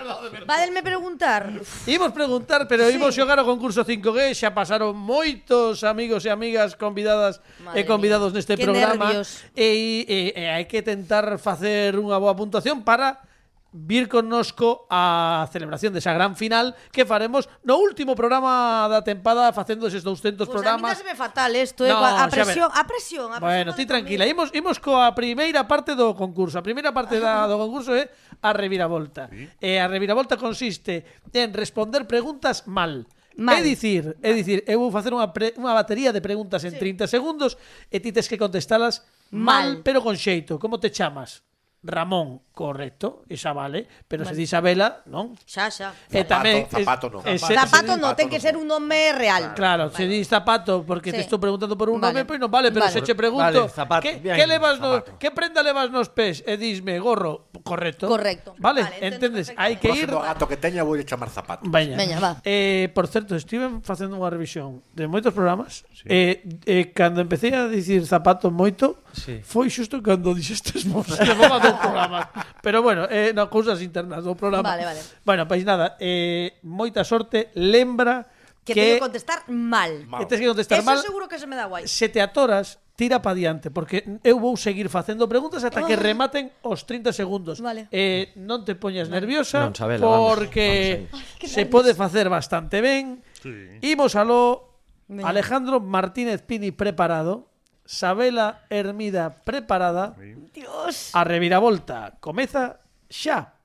[SPEAKER 5] Vádenme preguntar. Uf,
[SPEAKER 2] Imos preguntar, pero sí. imos xogar o concurso 5G Xa pasaron moitos amigos e amigas convidadas e
[SPEAKER 5] Madre
[SPEAKER 2] convidados
[SPEAKER 5] mía,
[SPEAKER 2] neste
[SPEAKER 5] que
[SPEAKER 2] programa
[SPEAKER 5] nervios.
[SPEAKER 2] E, e, e hai que tentar facer unha boa puntuación para vir connosco a celebración desa gran final que faremos no último programa da tempada facendo eses 200
[SPEAKER 5] pues Pois a mí
[SPEAKER 2] programas.
[SPEAKER 5] dáseme fatal esto, eh,
[SPEAKER 2] No,
[SPEAKER 5] coa-
[SPEAKER 2] xa
[SPEAKER 5] a, presión, a presión, a presión.
[SPEAKER 2] Bueno, ti
[SPEAKER 5] ti
[SPEAKER 2] tranquila. Imos, imos coa primeira parte do concurso. A primeira parte da,
[SPEAKER 5] Ah.
[SPEAKER 2] do concurso é a reviravolta. E a reviravolta consiste en responder preguntas mal.
[SPEAKER 5] Mal.
[SPEAKER 2] É dicir, é dicir, eu vou facer unha, pre, unha batería de preguntas en 30 segundos e ti tes que contestalas mal,
[SPEAKER 5] Mal.
[SPEAKER 2] pero con xeito. Como te chamas? Ramón, correcto, esa vale, pero se di Isabela, non?
[SPEAKER 5] Xa, xa.
[SPEAKER 2] E tamén
[SPEAKER 4] zapato non.
[SPEAKER 2] e se-
[SPEAKER 5] Zapato no, ten que ser un nome real.
[SPEAKER 2] Claro, se di zapato porque
[SPEAKER 5] Sí.
[SPEAKER 2] te estou preguntando por un nome,
[SPEAKER 5] Vale.
[SPEAKER 2] pois non vale, pero
[SPEAKER 5] Vale.
[SPEAKER 2] se che pregunto
[SPEAKER 6] Vale, zapato,
[SPEAKER 2] que,
[SPEAKER 6] bien,
[SPEAKER 2] que levas no, que prenda levas nos pés e disme gorro, correcto?
[SPEAKER 5] Correcto.
[SPEAKER 2] Vale,
[SPEAKER 5] Vale, entendo
[SPEAKER 2] entendes, hai que ir
[SPEAKER 4] Próximo gato que teña voulle chamar zapato.
[SPEAKER 2] Veña.
[SPEAKER 5] Veña, va.
[SPEAKER 2] Eh, por certo, estiven facendo unha revisión de moitos programas. Eh, eh, cando empecé a dicir zapato moito,
[SPEAKER 6] Sí.
[SPEAKER 2] foi xusto cando dixestes vos que vos a dous programas. Pero bueno, eh, no, cousas internas do programa.
[SPEAKER 5] Vale, vale.
[SPEAKER 2] Bueno, pois nada, eh, moita sorte, lembra
[SPEAKER 5] Que,
[SPEAKER 2] que,
[SPEAKER 5] teño que contestar mal.
[SPEAKER 2] que tens que contestar
[SPEAKER 5] Eso
[SPEAKER 2] mal
[SPEAKER 5] seguro que se me da guai.
[SPEAKER 2] se te atoras, tira pa diante, porque eu vou seguir facendo preguntas ata que rematen os 30 segundos.
[SPEAKER 5] Vale.
[SPEAKER 2] Eh, non te poñas nerviosa
[SPEAKER 6] Non, Sabela, vamos,
[SPEAKER 2] porque
[SPEAKER 6] vamos
[SPEAKER 2] se pode facer bastante ben.
[SPEAKER 3] Sí.
[SPEAKER 2] Imos aló
[SPEAKER 5] Veña.
[SPEAKER 2] Alejandro Martínez Pini preparado, Sabela Hermida preparada.
[SPEAKER 5] Dios.
[SPEAKER 2] A reviravolta, comeza xa.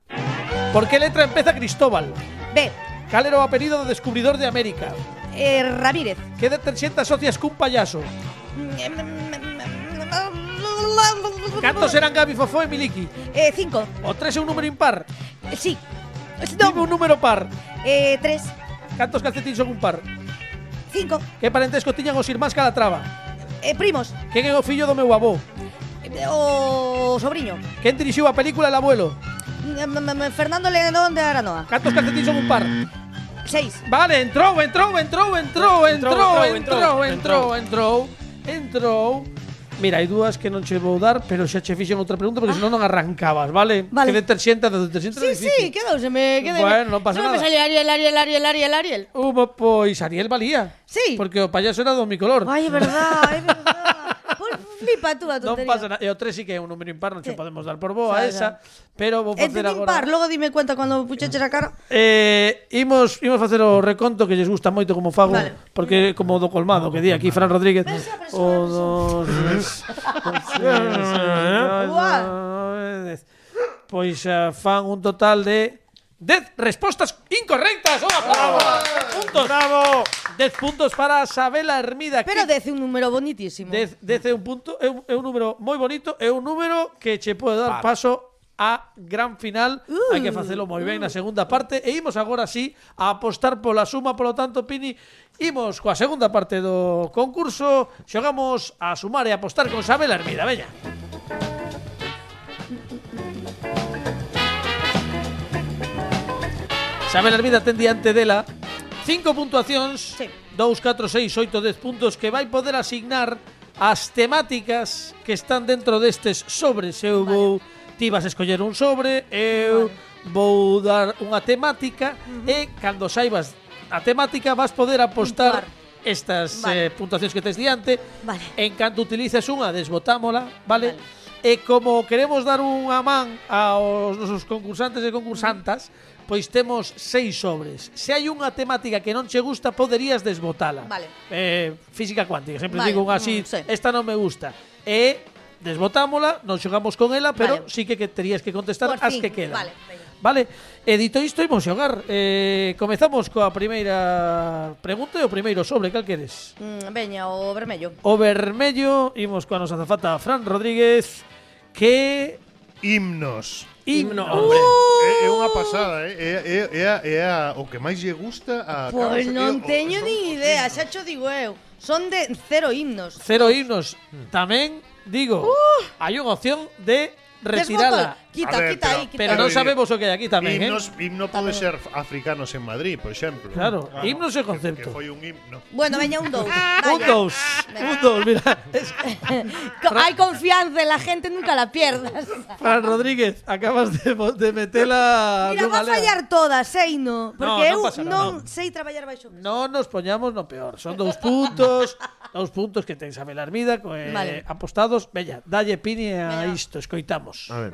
[SPEAKER 2] Por que letra empeza Cristóbal?
[SPEAKER 5] B.
[SPEAKER 2] Calero apelido do descubridor de América.
[SPEAKER 5] Eh, Ramírez.
[SPEAKER 2] Que deterxente asocias cun payaso? Cantos eran Gabi Fofó e Miliki?
[SPEAKER 5] Eh, cinco.
[SPEAKER 2] O 3 é un número impar.
[SPEAKER 5] Eh, Sí. Es-
[SPEAKER 2] Dime un
[SPEAKER 5] No.
[SPEAKER 2] número par.
[SPEAKER 5] Eh, tres.
[SPEAKER 2] Cantos calcetines son un par?
[SPEAKER 5] Cinco.
[SPEAKER 2] Que parentesco tiñan os irmáns Calatrava?
[SPEAKER 5] Eh, primos.
[SPEAKER 2] Quen é o fillo do meu avó?
[SPEAKER 5] Eh, O sobriño.
[SPEAKER 2] Quen dirixiu a película El abuelo?
[SPEAKER 5] Fernando León de Aranoa.
[SPEAKER 2] Cantos calcetines son un par?
[SPEAKER 5] Seis.
[SPEAKER 2] Vale, entrou, entrou, entrou, entrou, entrou,
[SPEAKER 6] Entrou, entrou,
[SPEAKER 2] entrou, entrou, entrou, entrou. Mira, hai dúas que non che vou dar, pero xa che fixen outra pregunta porque senón non arrancabas, vale?
[SPEAKER 5] Ah. Vale.
[SPEAKER 2] Que de 300 de 300
[SPEAKER 5] Sí,
[SPEAKER 2] era difícil.
[SPEAKER 5] sí, quedou, se me quedou.
[SPEAKER 2] Bueno, non pasa
[SPEAKER 5] Se me
[SPEAKER 2] nada.
[SPEAKER 5] salió Ariel, Ariel, Ariel, Ariel, Ariel.
[SPEAKER 2] Hubo, pois Ariel valía.
[SPEAKER 5] Sí.
[SPEAKER 2] Porque o payaso era do mi color.
[SPEAKER 5] Ay, é verdad, é verdad. Pois flipa tú a
[SPEAKER 2] non
[SPEAKER 5] tontería.
[SPEAKER 2] pasa nada. E o 3 sí que é un número impar, non che podemos dar por
[SPEAKER 5] Xa,
[SPEAKER 2] boa
[SPEAKER 5] xa.
[SPEAKER 2] esa, pero vou
[SPEAKER 5] É de
[SPEAKER 2] facer agora.
[SPEAKER 5] impar, logo dime cuenta cando puxeches a cara.
[SPEAKER 2] Eh, imos, imos facer o reconto que lles gusta moito como fago
[SPEAKER 5] Vale.
[SPEAKER 2] Porque como do colmado que di aquí Fran Rodríguez
[SPEAKER 5] Pensa, pensa,
[SPEAKER 2] O dos
[SPEAKER 5] Ua.
[SPEAKER 2] Pois xa fan un total de 10 respostas incorrectas Un aplauso puntos. Bravo 10 puntos para Sabela Hermida
[SPEAKER 5] Pero
[SPEAKER 2] que-
[SPEAKER 5] dece un número bonitísimo.
[SPEAKER 2] Dez, dez é un punto, é un, é un número moi bonito, é un número que che pode dar paso a gran final.
[SPEAKER 5] Uh,
[SPEAKER 2] Hai que facelo moi ben na segunda parte e imos agora sí a apostar pola suma, polo tanto, Pini, imos coa segunda parte do concurso. Xogamos a sumar e apostar con Sabel Hermida, veña. Sabel Hermida ten diante dela cinco puntuacións,
[SPEAKER 5] Sí.
[SPEAKER 2] 2, 4, 6, 8, 10 puntos que vai poder asignar as temáticas que están dentro destes sobres. Eu vale. vou ti vas escoller un sobre, eu vale. vou dar unha temática uh -huh. e cando saibas a temática vas poder apostar
[SPEAKER 5] Puntuar.
[SPEAKER 2] estas vale. eh,
[SPEAKER 5] Vale.
[SPEAKER 2] puntuacións que tes diante.
[SPEAKER 5] Vale.
[SPEAKER 2] En canto utilices unha, desbotámola, vale?
[SPEAKER 5] Vale.
[SPEAKER 2] E como queremos dar unha man aos nosos concursantes e concursantas, pois temos seis sobres. Se hai unha temática que non che gusta, poderías desbotala.
[SPEAKER 5] Vale.
[SPEAKER 2] Eh, física cuántica, sempre
[SPEAKER 5] Vale,
[SPEAKER 2] digo unha así,
[SPEAKER 5] mm, sí.
[SPEAKER 2] esta non me gusta. E desbotámola, non xogamos con ela, pero
[SPEAKER 5] Vale.
[SPEAKER 2] sí que, que terías que contestar
[SPEAKER 5] Por
[SPEAKER 2] as
[SPEAKER 5] fin,
[SPEAKER 2] que quedan.
[SPEAKER 5] vale, veña.
[SPEAKER 2] Vale, e dito isto imos xogar. Eh, comezamos coa primeira pregunta e o primeiro sobre, cal queres?
[SPEAKER 5] Mm, veña, o vermello.
[SPEAKER 2] O vermello, imos coa nosa zafata Fran Rodríguez Que Uh!
[SPEAKER 3] Himnos.
[SPEAKER 6] Himno, hombre.
[SPEAKER 3] É, é unha pasada, eh. é, é, é, é, a- é a- o que máis lle gusta a
[SPEAKER 5] Pois
[SPEAKER 3] Carlos, é o-
[SPEAKER 5] non teño
[SPEAKER 3] son
[SPEAKER 5] Pues ni
[SPEAKER 3] os
[SPEAKER 5] idea,
[SPEAKER 3] himnos.
[SPEAKER 5] xa cho digo eu. Son de cero himnos.
[SPEAKER 2] cero himnos.
[SPEAKER 6] Mm.
[SPEAKER 2] Tamén digo,
[SPEAKER 6] Uh!
[SPEAKER 2] hai unha opción de retirala,
[SPEAKER 5] Desbótala. Quita,
[SPEAKER 3] A ver,
[SPEAKER 5] quita
[SPEAKER 3] pero-
[SPEAKER 5] aí, quita.
[SPEAKER 2] pero non
[SPEAKER 3] Claro,
[SPEAKER 2] sabemos o que hai aquí tamén, eh?
[SPEAKER 3] Himnos, himno pode ser africanos en Madrid, por exemplo.
[SPEAKER 2] Claro, himnos é
[SPEAKER 3] que-
[SPEAKER 2] concepto.
[SPEAKER 3] Que foi un himno.
[SPEAKER 5] Bueno, veña un
[SPEAKER 2] Un
[SPEAKER 5] dous. Vaya.
[SPEAKER 2] dous, un dous, mira. Es-
[SPEAKER 5] Co- Hay confianza en la gente, nunca la pierdas.
[SPEAKER 2] Fran Rodríguez, acabas de, bo- de metela
[SPEAKER 5] Mira,
[SPEAKER 2] dunha
[SPEAKER 5] va a
[SPEAKER 2] lea.
[SPEAKER 5] fallar todas, sei no,
[SPEAKER 2] non
[SPEAKER 5] porque eu
[SPEAKER 2] pasa nada, non.
[SPEAKER 5] non sei traballar baixo.
[SPEAKER 2] Non nos poñamos no peor. Son dous puntos, dous puntos que ten Isabel Armida co, eh,
[SPEAKER 5] Vale.
[SPEAKER 2] apostados. Bella, dalle pini a
[SPEAKER 5] Veña.
[SPEAKER 2] isto, escoitamos.
[SPEAKER 3] A ver.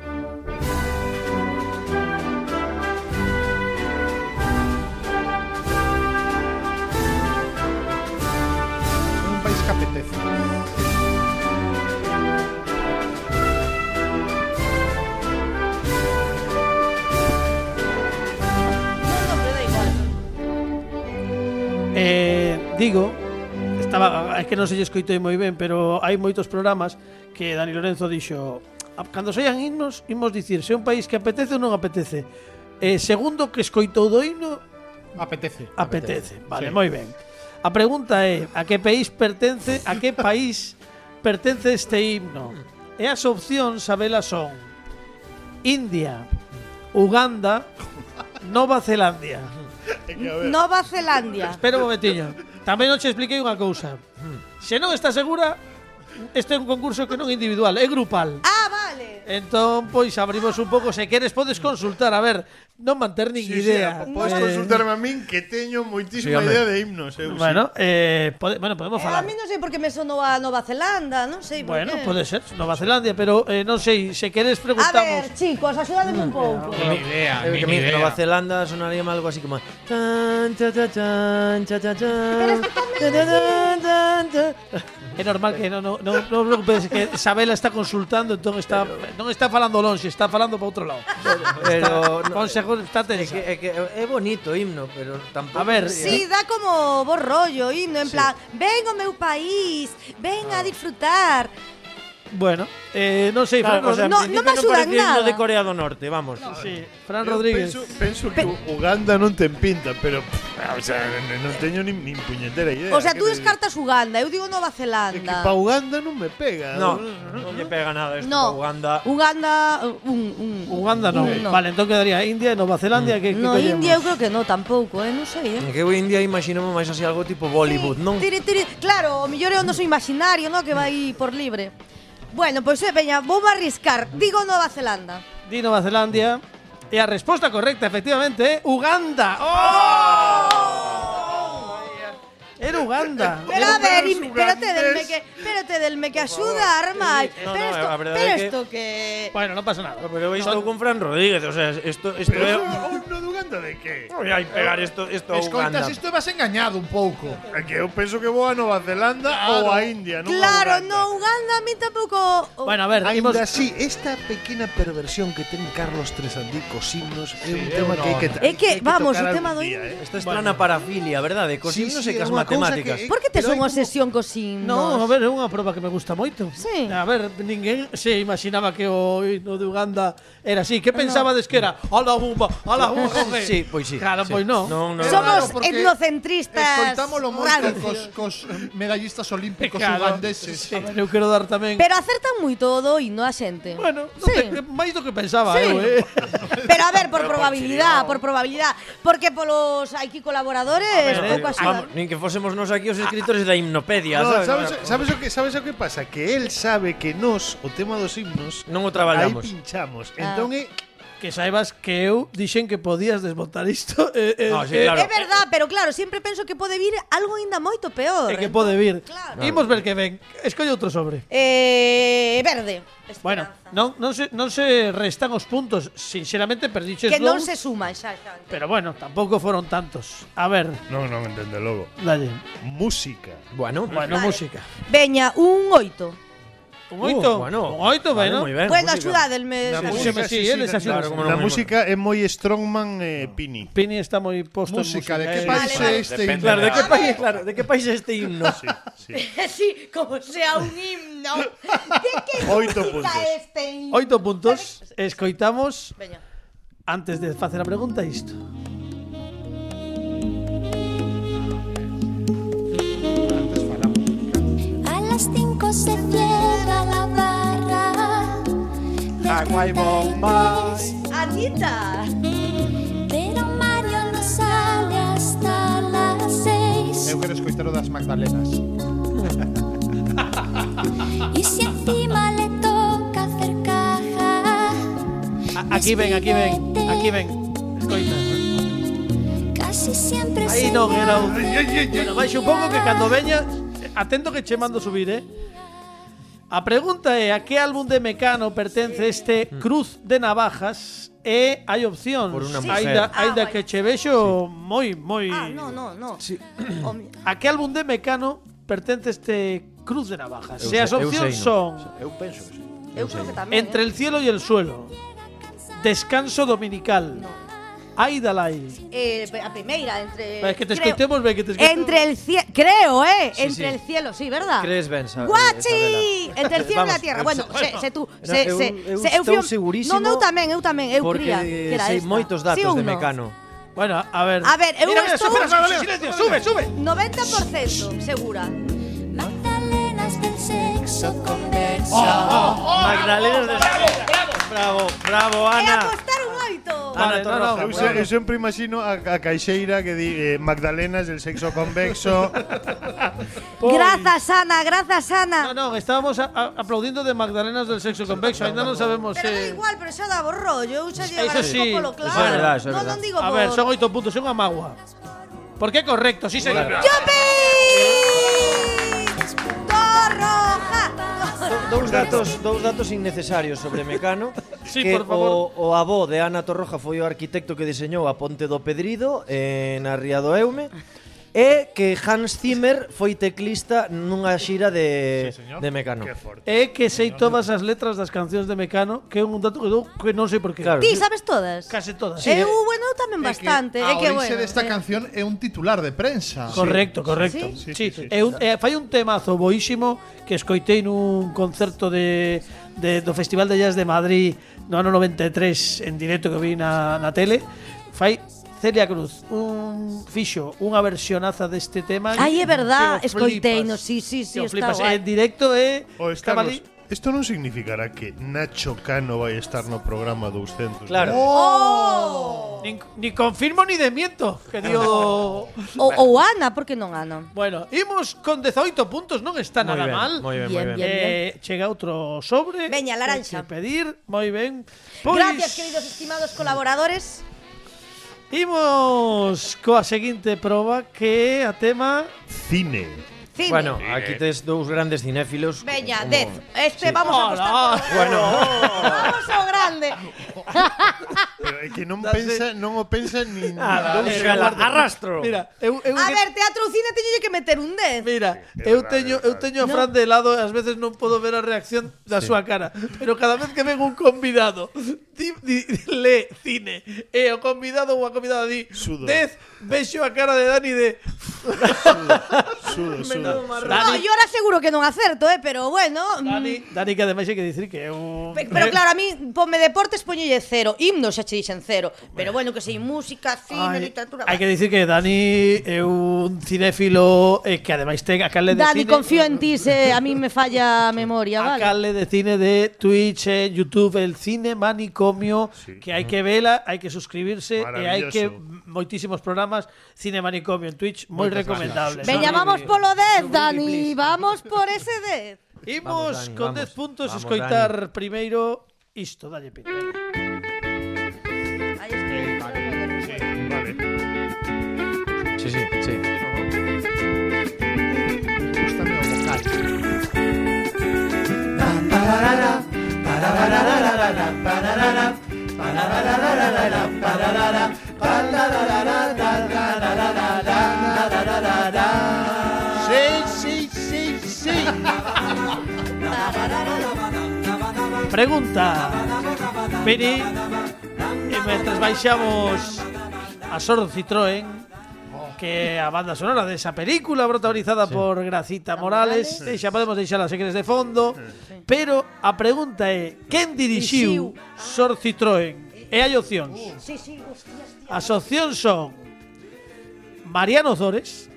[SPEAKER 7] Un país que apetece.
[SPEAKER 5] Non, non, pero da igual.
[SPEAKER 2] Eh, digo, estaba, é que non se lle escoitei moi ben, pero hai moitos programas que Dani Lorenzo dixo, "A- cando saian himnos, imos dicir se é un país que apetece ou non apetece. Eh, segundo que escoitou do himno,
[SPEAKER 7] Apetece.
[SPEAKER 2] apetece. Vale, moi ben. A pregunta é, a que país pertence, a que país pertence este himno? E as opcións, Sabela, son India, Uganda, Nova Zelandia.
[SPEAKER 5] Nova Zelandia.
[SPEAKER 2] Espera un momentiño. Tamén non che expliquei unha cousa. Se non está segura, este é un concurso que non é individual, é grupal.
[SPEAKER 5] Ah, vale.
[SPEAKER 2] Entón, pois abrimos un pouco, se queres podes consultar, a ver, non manter nin
[SPEAKER 3] Sí, sí,
[SPEAKER 2] idea.
[SPEAKER 3] podes
[SPEAKER 2] Eh,
[SPEAKER 3] consultarme a min que teño moitísima
[SPEAKER 6] Sí, home.
[SPEAKER 3] idea de himnos. Eu, sí.
[SPEAKER 2] Bueno, eh, pode, bueno, podemos
[SPEAKER 5] Eh, a
[SPEAKER 2] falar.
[SPEAKER 5] mí non sei por que me sonou a Nova Zelanda, non sei por
[SPEAKER 2] Bueno,
[SPEAKER 5] que.
[SPEAKER 2] pode ser, Nova Zelandia, pero eh, non sei, se queres
[SPEAKER 5] A ver,
[SPEAKER 2] preguntamos.
[SPEAKER 5] chicos, axudadme un pouco.
[SPEAKER 9] Ni idea,
[SPEAKER 6] Eh,
[SPEAKER 9] ni
[SPEAKER 6] que a mí
[SPEAKER 9] idea.
[SPEAKER 6] Nueva Zelanda sonaría mal algo así como tan cha cha chan, cha cha chan, ta, ta, tan, tan, ta.
[SPEAKER 2] É normal que non non non non vos preocupedes que Sabela está consultando, entón está non está falando lonxe, está falando para outro lado.
[SPEAKER 6] pero no,
[SPEAKER 2] Consejo está
[SPEAKER 6] é
[SPEAKER 2] tensa.
[SPEAKER 6] que, é que é bonito o himno, pero tampouco.
[SPEAKER 2] A ver, eh,
[SPEAKER 5] Sí, dá como bo rollo, himno, en plan, ven o meu país, ven
[SPEAKER 3] Ah.
[SPEAKER 5] a disfrutar.
[SPEAKER 2] Bueno, eh, non sei, Fran,
[SPEAKER 6] Claro, Ah, o sea, en
[SPEAKER 5] no- no
[SPEAKER 6] principio
[SPEAKER 5] me ayudan
[SPEAKER 6] parecía himno
[SPEAKER 5] nada.
[SPEAKER 6] de Corea do Norte, vamos.
[SPEAKER 2] sí, Fran
[SPEAKER 3] Eu
[SPEAKER 2] Rodríguez.
[SPEAKER 3] Penso, penso que Uganda non ten pinta, pero pff, o sea, n- non teño nin, nin puñetera idea.
[SPEAKER 5] O sea,
[SPEAKER 3] Que
[SPEAKER 5] tú
[SPEAKER 3] me-
[SPEAKER 5] descartas Uganda, eu digo
[SPEAKER 3] É
[SPEAKER 5] Nova
[SPEAKER 3] que pa
[SPEAKER 5] Zelanda.
[SPEAKER 3] Uganda non me pega.
[SPEAKER 6] No, no lle pega nada esto
[SPEAKER 5] No,
[SPEAKER 6] pa Uganda.
[SPEAKER 5] Uganda, un, un,
[SPEAKER 2] Uganda non.
[SPEAKER 5] un
[SPEAKER 2] Vale, entón quedaría India e Nova Zelandia que que
[SPEAKER 5] No,
[SPEAKER 2] collemos?
[SPEAKER 5] India eu creo que no tampouco, eh, non sei, eh.
[SPEAKER 6] Que o India imaginamos máis así algo tipo Bollywood, non?
[SPEAKER 5] Tiri, tiri. Claro, o mellor é o noso imaginario, no? Que vai por libre. Bueno, pois pues, eh, veña, vou arriscar. Digo Nova Zelanda.
[SPEAKER 2] Di Nova Zelandia. E a resposta correcta, efectivamente, é Uganda. ¡Oh! Era Uganda.
[SPEAKER 5] Pero a ver,
[SPEAKER 3] Los
[SPEAKER 5] im- pero
[SPEAKER 3] ugandeses.
[SPEAKER 5] te delme que, pero te delme que axuda, Armai.
[SPEAKER 6] No,
[SPEAKER 5] pero
[SPEAKER 6] no,
[SPEAKER 5] esto,
[SPEAKER 6] a verdade
[SPEAKER 5] pero
[SPEAKER 6] é que-
[SPEAKER 5] esto que
[SPEAKER 2] Bueno, non pasa nada.
[SPEAKER 6] Pero eu estou con Fran Rodríguez, o sea, esto esto
[SPEAKER 3] Pero
[SPEAKER 6] é
[SPEAKER 3] eso, un no de Uganda de qué?
[SPEAKER 6] Non hai pegar isto isto a Uganda.
[SPEAKER 7] Escoitas, isto vas engañado un pouco.
[SPEAKER 3] É que eu penso que vou a Nova Zelanda ou a India, non a
[SPEAKER 5] Claro,
[SPEAKER 3] Uganda.
[SPEAKER 5] no Uganda a mí tampouco o-
[SPEAKER 2] Bueno, a ver, imos...
[SPEAKER 10] Ainda así, esta pequena perversión que ten Carlos Tresandí cos himnos é un
[SPEAKER 3] Sí,
[SPEAKER 10] tema
[SPEAKER 3] eu
[SPEAKER 10] que hai
[SPEAKER 3] non.
[SPEAKER 10] que
[SPEAKER 5] É que,
[SPEAKER 3] Hai
[SPEAKER 5] vamos,
[SPEAKER 3] tocar
[SPEAKER 5] o tema
[SPEAKER 3] algún
[SPEAKER 5] do
[SPEAKER 3] día,
[SPEAKER 5] himno.
[SPEAKER 3] eh.
[SPEAKER 6] Esta estrana parafilia, verdade? Cos
[SPEAKER 10] Sí,
[SPEAKER 6] himnos
[SPEAKER 10] sí, é
[SPEAKER 6] e cas
[SPEAKER 10] unha cousa
[SPEAKER 6] matemáticas.
[SPEAKER 10] que-
[SPEAKER 5] Por que tes
[SPEAKER 10] Pero hai como-
[SPEAKER 5] unha obsesión cos himnos?
[SPEAKER 2] No, a ver, é unha proba que me gusta moito.
[SPEAKER 5] Sí.
[SPEAKER 2] A ver, ninguén se imaginaba que o himno de Uganda era así. Que pensabades que era? A la bomba, a la bomba. joder".
[SPEAKER 6] Sí, pois sí.
[SPEAKER 2] Claro, pues pois
[SPEAKER 6] sí.
[SPEAKER 2] non.
[SPEAKER 6] Non, non.
[SPEAKER 5] Somos
[SPEAKER 7] Claro, porque
[SPEAKER 5] etnocentristas.
[SPEAKER 7] Escoitámolo moito
[SPEAKER 5] rancios.
[SPEAKER 7] cos, cos medallistas olímpicos
[SPEAKER 2] Claro.
[SPEAKER 7] ugandeses.
[SPEAKER 2] Sí. A ver, eu quero dar tamén...
[SPEAKER 5] Pero acertan moito o do himno a xente.
[SPEAKER 2] Bueno, non
[SPEAKER 5] sí.
[SPEAKER 2] te- máis do que pensaba
[SPEAKER 5] Sí.
[SPEAKER 2] eu, eh.
[SPEAKER 5] Pero a ver, por probabilidad, por probabilidad, porque polos aquí colaboradores
[SPEAKER 2] ver,
[SPEAKER 5] pouco
[SPEAKER 2] eh,
[SPEAKER 5] axudan.
[SPEAKER 6] Vamos, nin que fósemos nós aquí os escritores da himnopedia,
[SPEAKER 3] No,
[SPEAKER 6] sabes?
[SPEAKER 3] sabes, sabes o que sabes o que pasa? Que él sabe que nós o tema dos himnos
[SPEAKER 6] Non o
[SPEAKER 3] aí
[SPEAKER 6] traballamos.
[SPEAKER 3] pinchamos.
[SPEAKER 5] Ah.
[SPEAKER 3] Entón é
[SPEAKER 2] Que saibas que eu dixen que podías desmontar isto e, e,
[SPEAKER 6] No, sí,
[SPEAKER 2] e-
[SPEAKER 6] claro.
[SPEAKER 5] É verdad, pero claro, sempre penso que pode vir algo ainda moito peor.
[SPEAKER 2] e
[SPEAKER 5] ¿eh?
[SPEAKER 2] que pode vir.
[SPEAKER 5] Claro.
[SPEAKER 2] Imos ver que ven. Escolle outro sobre.
[SPEAKER 5] Eh, verde.
[SPEAKER 2] Bueno,
[SPEAKER 5] Esperanza.
[SPEAKER 2] non, non, se, non se restan os puntos. Sinceramente, perdiches
[SPEAKER 5] que non
[SPEAKER 2] dous,
[SPEAKER 5] se suman xa, xa.
[SPEAKER 2] Pero bueno, tampouco foron tantos. A ver,
[SPEAKER 3] Non, non entende logo.
[SPEAKER 2] dalle.
[SPEAKER 3] Música.
[SPEAKER 6] Bueno,
[SPEAKER 2] Bueno,
[SPEAKER 5] Vale.
[SPEAKER 2] música.
[SPEAKER 5] Veña, un oito.
[SPEAKER 2] Un oito.
[SPEAKER 6] Uh, bueno.
[SPEAKER 2] un oito,
[SPEAKER 6] vale,
[SPEAKER 2] bueno.
[SPEAKER 6] moi ben.
[SPEAKER 5] Bueno,
[SPEAKER 6] ¿Eh? música.
[SPEAKER 5] axudádenme.
[SPEAKER 6] Na
[SPEAKER 5] axudádenme.
[SPEAKER 2] Sí, me sí, eles así nos-
[SPEAKER 6] claro, como non
[SPEAKER 3] La
[SPEAKER 6] moi
[SPEAKER 3] música é moi Strongman eh, Pini.
[SPEAKER 2] Pini está moi posto
[SPEAKER 7] Música,
[SPEAKER 2] en música.
[SPEAKER 7] de que
[SPEAKER 2] eh.
[SPEAKER 7] país
[SPEAKER 5] Vale,
[SPEAKER 7] é
[SPEAKER 5] vale.
[SPEAKER 7] este?
[SPEAKER 4] Depende
[SPEAKER 6] Claro, de que
[SPEAKER 4] A
[SPEAKER 6] país, claro, de que país é este himno?
[SPEAKER 3] Sí, sí.
[SPEAKER 5] Sí, como sea un himno. De que
[SPEAKER 3] Oito
[SPEAKER 5] música
[SPEAKER 3] puntos.
[SPEAKER 5] é este himno?
[SPEAKER 2] Oito puntos. Escoitamos
[SPEAKER 5] Veña.
[SPEAKER 2] antes de facer a pregunta isto.
[SPEAKER 9] A las 5 se cierra la barra.
[SPEAKER 4] Agua y bombas.
[SPEAKER 5] Anita.
[SPEAKER 9] Pero Mario no sale hasta las 6.
[SPEAKER 7] Eu quero escoitar o das Magdalenas.
[SPEAKER 9] Y si encima le toca hacer caja,
[SPEAKER 2] A- Aquí ven, aquí ven, aquí ven. Escoita.
[SPEAKER 9] casi siempre
[SPEAKER 2] Aí
[SPEAKER 9] se
[SPEAKER 2] non era un...
[SPEAKER 7] Ai, ai, ai, ai.
[SPEAKER 2] Bueno, baixe un pouco que cando veña... Atento que che mando subir, eh? A pregunta é a que álbum de Mecano pertence este Cruz de Navajas e hai opcións.
[SPEAKER 6] Mm. Por unha mujer.
[SPEAKER 2] Aínda,
[SPEAKER 5] Ah,
[SPEAKER 2] aínda
[SPEAKER 5] vai.
[SPEAKER 2] que che vexo moi, moi...
[SPEAKER 5] Ah, no, no, no. Oh, Home,
[SPEAKER 2] A que álbum de Mecano pertence este Cruz de Navajas?
[SPEAKER 6] Eu
[SPEAKER 2] Se as
[SPEAKER 6] sei, eu
[SPEAKER 2] opcións
[SPEAKER 6] sei, no.
[SPEAKER 2] son
[SPEAKER 4] Eu penso que sí.
[SPEAKER 5] Eu creo que tamén.
[SPEAKER 2] Entre
[SPEAKER 5] eh.
[SPEAKER 2] el cielo y el suelo, Descanso dominical, Aidalai.
[SPEAKER 5] Eh, a primeira, entre...
[SPEAKER 2] Vai, que te
[SPEAKER 5] creo-
[SPEAKER 2] escoitemos, ben, que te escoitemos.
[SPEAKER 5] Entre el cielo, creo, eh,
[SPEAKER 6] Sí,
[SPEAKER 5] entre
[SPEAKER 6] sí.
[SPEAKER 5] el cielo, sí, ¿verdad?
[SPEAKER 6] Crees, Ben, sabe-
[SPEAKER 5] Guachi,
[SPEAKER 6] Isabela.
[SPEAKER 5] entre el cielo e la
[SPEAKER 6] Vamos,
[SPEAKER 5] tierra.
[SPEAKER 6] eu
[SPEAKER 5] Bueno,
[SPEAKER 6] sei-
[SPEAKER 5] se, se tú,
[SPEAKER 6] Pero
[SPEAKER 5] se,
[SPEAKER 6] eu-
[SPEAKER 5] se,
[SPEAKER 6] eu
[SPEAKER 5] se,
[SPEAKER 6] estou
[SPEAKER 5] fui-
[SPEAKER 6] segurísimo
[SPEAKER 5] Non, eu tamén, eu tamén, eu
[SPEAKER 6] Porque
[SPEAKER 5] cría que era
[SPEAKER 6] sei
[SPEAKER 5] esta.
[SPEAKER 6] moitos datos
[SPEAKER 5] Sí ou
[SPEAKER 6] de
[SPEAKER 5] no?
[SPEAKER 6] Mecano.
[SPEAKER 2] Bueno, a ver.
[SPEAKER 5] A ver, eu
[SPEAKER 2] Mira, mira,
[SPEAKER 5] estou-
[SPEAKER 2] espera, espera, espera, silencio, sube, sube.
[SPEAKER 5] 90% segura.
[SPEAKER 9] Magdalenas del sexo converso.
[SPEAKER 5] Eh,
[SPEAKER 6] Magdalenas de Bravo, bravo,
[SPEAKER 5] E
[SPEAKER 6] Ana.
[SPEAKER 5] apostaron oito.
[SPEAKER 2] Vale, no,
[SPEAKER 6] Ana
[SPEAKER 2] no,
[SPEAKER 5] Ah,
[SPEAKER 6] Torroja. pues.
[SPEAKER 3] Eu, se, eu sempre imagino a, a caixeira que di eh, Magdalenas, el sexo convexo.
[SPEAKER 5] Grazas, Ana, grazas, Ana.
[SPEAKER 2] No, no, estábamos a- a- aplaudiendo de Magdalenas del sexo convexo, ainda non sabemos
[SPEAKER 5] Pero da
[SPEAKER 2] eh.
[SPEAKER 5] igual, pero xa daba o rollo, eu xa
[SPEAKER 2] Eso
[SPEAKER 5] llevaré
[SPEAKER 2] sí,
[SPEAKER 5] un pouco lo
[SPEAKER 2] eso
[SPEAKER 5] claro.
[SPEAKER 6] é verdade, eso é
[SPEAKER 5] non,
[SPEAKER 6] verdade.
[SPEAKER 5] non digo
[SPEAKER 2] A ver,
[SPEAKER 5] por-
[SPEAKER 2] son oito puntos, é unha magua. Porque é correcto, sí, señor.
[SPEAKER 5] ¡Yupi! ¡Torroja!
[SPEAKER 6] Do- Dous datos, dous datos innecesarios sobre Mecano
[SPEAKER 2] Sí,
[SPEAKER 6] que
[SPEAKER 2] por favor.
[SPEAKER 6] O, o avó de Ana Torroja foi o arquitecto que diseñou a Ponte do Pedrido eh, na Ría do Eume e que Hans Zimmer foi teclista nunha xira de, sí, de Mecano.
[SPEAKER 3] Que forte.
[SPEAKER 2] É que sei todas as letras das cancións de Mecano, que é un dato que dou que non sei por qué.
[SPEAKER 6] Claro.
[SPEAKER 5] Ti sabes todas?
[SPEAKER 2] Case todas. eh.
[SPEAKER 5] Sí, eu, bueno, eu tamén bastante. É
[SPEAKER 7] a
[SPEAKER 5] que,
[SPEAKER 7] orixe
[SPEAKER 5] bueno.
[SPEAKER 7] desta
[SPEAKER 5] eh.
[SPEAKER 7] canción é un titular de prensa.
[SPEAKER 2] Correcto, correcto.
[SPEAKER 5] Sí?
[SPEAKER 2] Sí, É un, é, fai un temazo boísimo que escoitei nun concerto de, de do Festival de Jazz de Madrid no ano 93 en directo que vi na, na tele. Fai Celia Cruz un fixo, unha versionaza deste tema.
[SPEAKER 5] Ai, é verdad,
[SPEAKER 2] que o
[SPEAKER 5] escoiteino,
[SPEAKER 2] flipas.
[SPEAKER 5] sí, sí,
[SPEAKER 2] Que
[SPEAKER 5] sí,
[SPEAKER 2] o
[SPEAKER 5] está
[SPEAKER 2] flipas.
[SPEAKER 5] guai.
[SPEAKER 2] En directo é
[SPEAKER 3] O
[SPEAKER 2] estaba
[SPEAKER 3] estamos,
[SPEAKER 2] ali.
[SPEAKER 3] Isto non significará que Nacho Cano vai estar no programa 200.
[SPEAKER 6] Claro.
[SPEAKER 3] Oh.
[SPEAKER 5] ¡Oh!
[SPEAKER 2] Nin- Ni, confirmo ni demiento que dio...
[SPEAKER 5] O, ou Ana, por que non Ana?
[SPEAKER 2] Bueno, imos con 18 puntos, non está
[SPEAKER 5] Moi
[SPEAKER 2] nada
[SPEAKER 5] ben,
[SPEAKER 2] mal.
[SPEAKER 5] moi ben, moi Bien, ben. bien,
[SPEAKER 2] Eh, chega outro sobre.
[SPEAKER 5] Veña, laranxa.
[SPEAKER 2] que pedir, Pues moi ben. Pois,
[SPEAKER 5] Gracias, queridos estimados colaboradores.
[SPEAKER 2] Imos coa seguinte proba que é a tema...
[SPEAKER 3] Cine.
[SPEAKER 5] Cine.
[SPEAKER 6] Bueno, aquí tes dous grandes cinéfilos.
[SPEAKER 5] Veña,
[SPEAKER 6] como-
[SPEAKER 5] Dez. Este
[SPEAKER 6] Sí.
[SPEAKER 5] vamos a apostar. por-
[SPEAKER 6] Bueno,
[SPEAKER 5] Vamos ao grande.
[SPEAKER 3] Pero é que non pensa, non o pensa nin
[SPEAKER 6] Nada,
[SPEAKER 3] dous
[SPEAKER 6] venga, la-
[SPEAKER 3] segundos.
[SPEAKER 6] arrastro.
[SPEAKER 2] Mira, eu, eu,
[SPEAKER 5] A ver, teatro ou cine teño que meter un 10.
[SPEAKER 2] Mira,
[SPEAKER 3] é
[SPEAKER 2] eu
[SPEAKER 3] verdade,
[SPEAKER 2] teño,
[SPEAKER 3] é
[SPEAKER 2] eu
[SPEAKER 3] verdade.
[SPEAKER 2] teño a
[SPEAKER 5] No.
[SPEAKER 2] Fran de lado e ás veces non podo ver a reacción da súa cara. Pero cada vez que ven un convidado, di, di, le cine, e o convidado ou a convidada di,
[SPEAKER 3] Sudo.
[SPEAKER 2] dez, vexo a cara de Dani de...
[SPEAKER 3] Sudo, sudo.
[SPEAKER 6] Menudo marrón.
[SPEAKER 5] No,
[SPEAKER 2] Dani,
[SPEAKER 5] yo ahora seguro que non acerto, eh, pero bueno. mm,
[SPEAKER 2] Dani, Dani que ademais hai que dicir que é un...
[SPEAKER 5] pe- Pero claro, a mí ponme deportes pues poñolle cero, himnos xa che dixen cero, pero bueno, que sei música, cine,
[SPEAKER 2] Ai,
[SPEAKER 5] literatura.
[SPEAKER 2] hai que dicir que Dani é un cinéfilo eh, que ademais ten a cale de
[SPEAKER 5] Dani,
[SPEAKER 2] cine.
[SPEAKER 5] confío en ti, se a mí me falla a memoria,
[SPEAKER 2] A
[SPEAKER 5] vale.
[SPEAKER 2] cale de cine de Twitch, eh, YouTube, el cine manicomio,
[SPEAKER 3] Sí.
[SPEAKER 2] que hay que vela, hay que suscribirse e hai
[SPEAKER 3] Maravilloso.
[SPEAKER 2] que m- moitísimos programas cine manicomio en Twitch, moi recomendable.
[SPEAKER 5] Veña, vamos polo 10, Dani, vamos por ese 10.
[SPEAKER 2] Imos
[SPEAKER 6] Vamos, Dani,
[SPEAKER 2] con 10
[SPEAKER 6] vamos.
[SPEAKER 2] puntos
[SPEAKER 6] Vamos,
[SPEAKER 2] escoitar primeiro isto, dalle pito.
[SPEAKER 5] Ahí estoy.
[SPEAKER 3] Vale.
[SPEAKER 6] Sí, sí, sí.
[SPEAKER 3] Sí, sí, sí, sí.
[SPEAKER 2] Pregunta. Vini, e mentres baixamos a Sordo Citroën, que é a banda sonora desa película protagonizada por Gracita Morales, e xa podemos deixala se queres de fondo, pero a pregunta é, quen dirixiu Sordo Citroën? E hai opcións.
[SPEAKER 5] Sí, sí, hostia, hostia.
[SPEAKER 2] As opcións son Mariano Zores,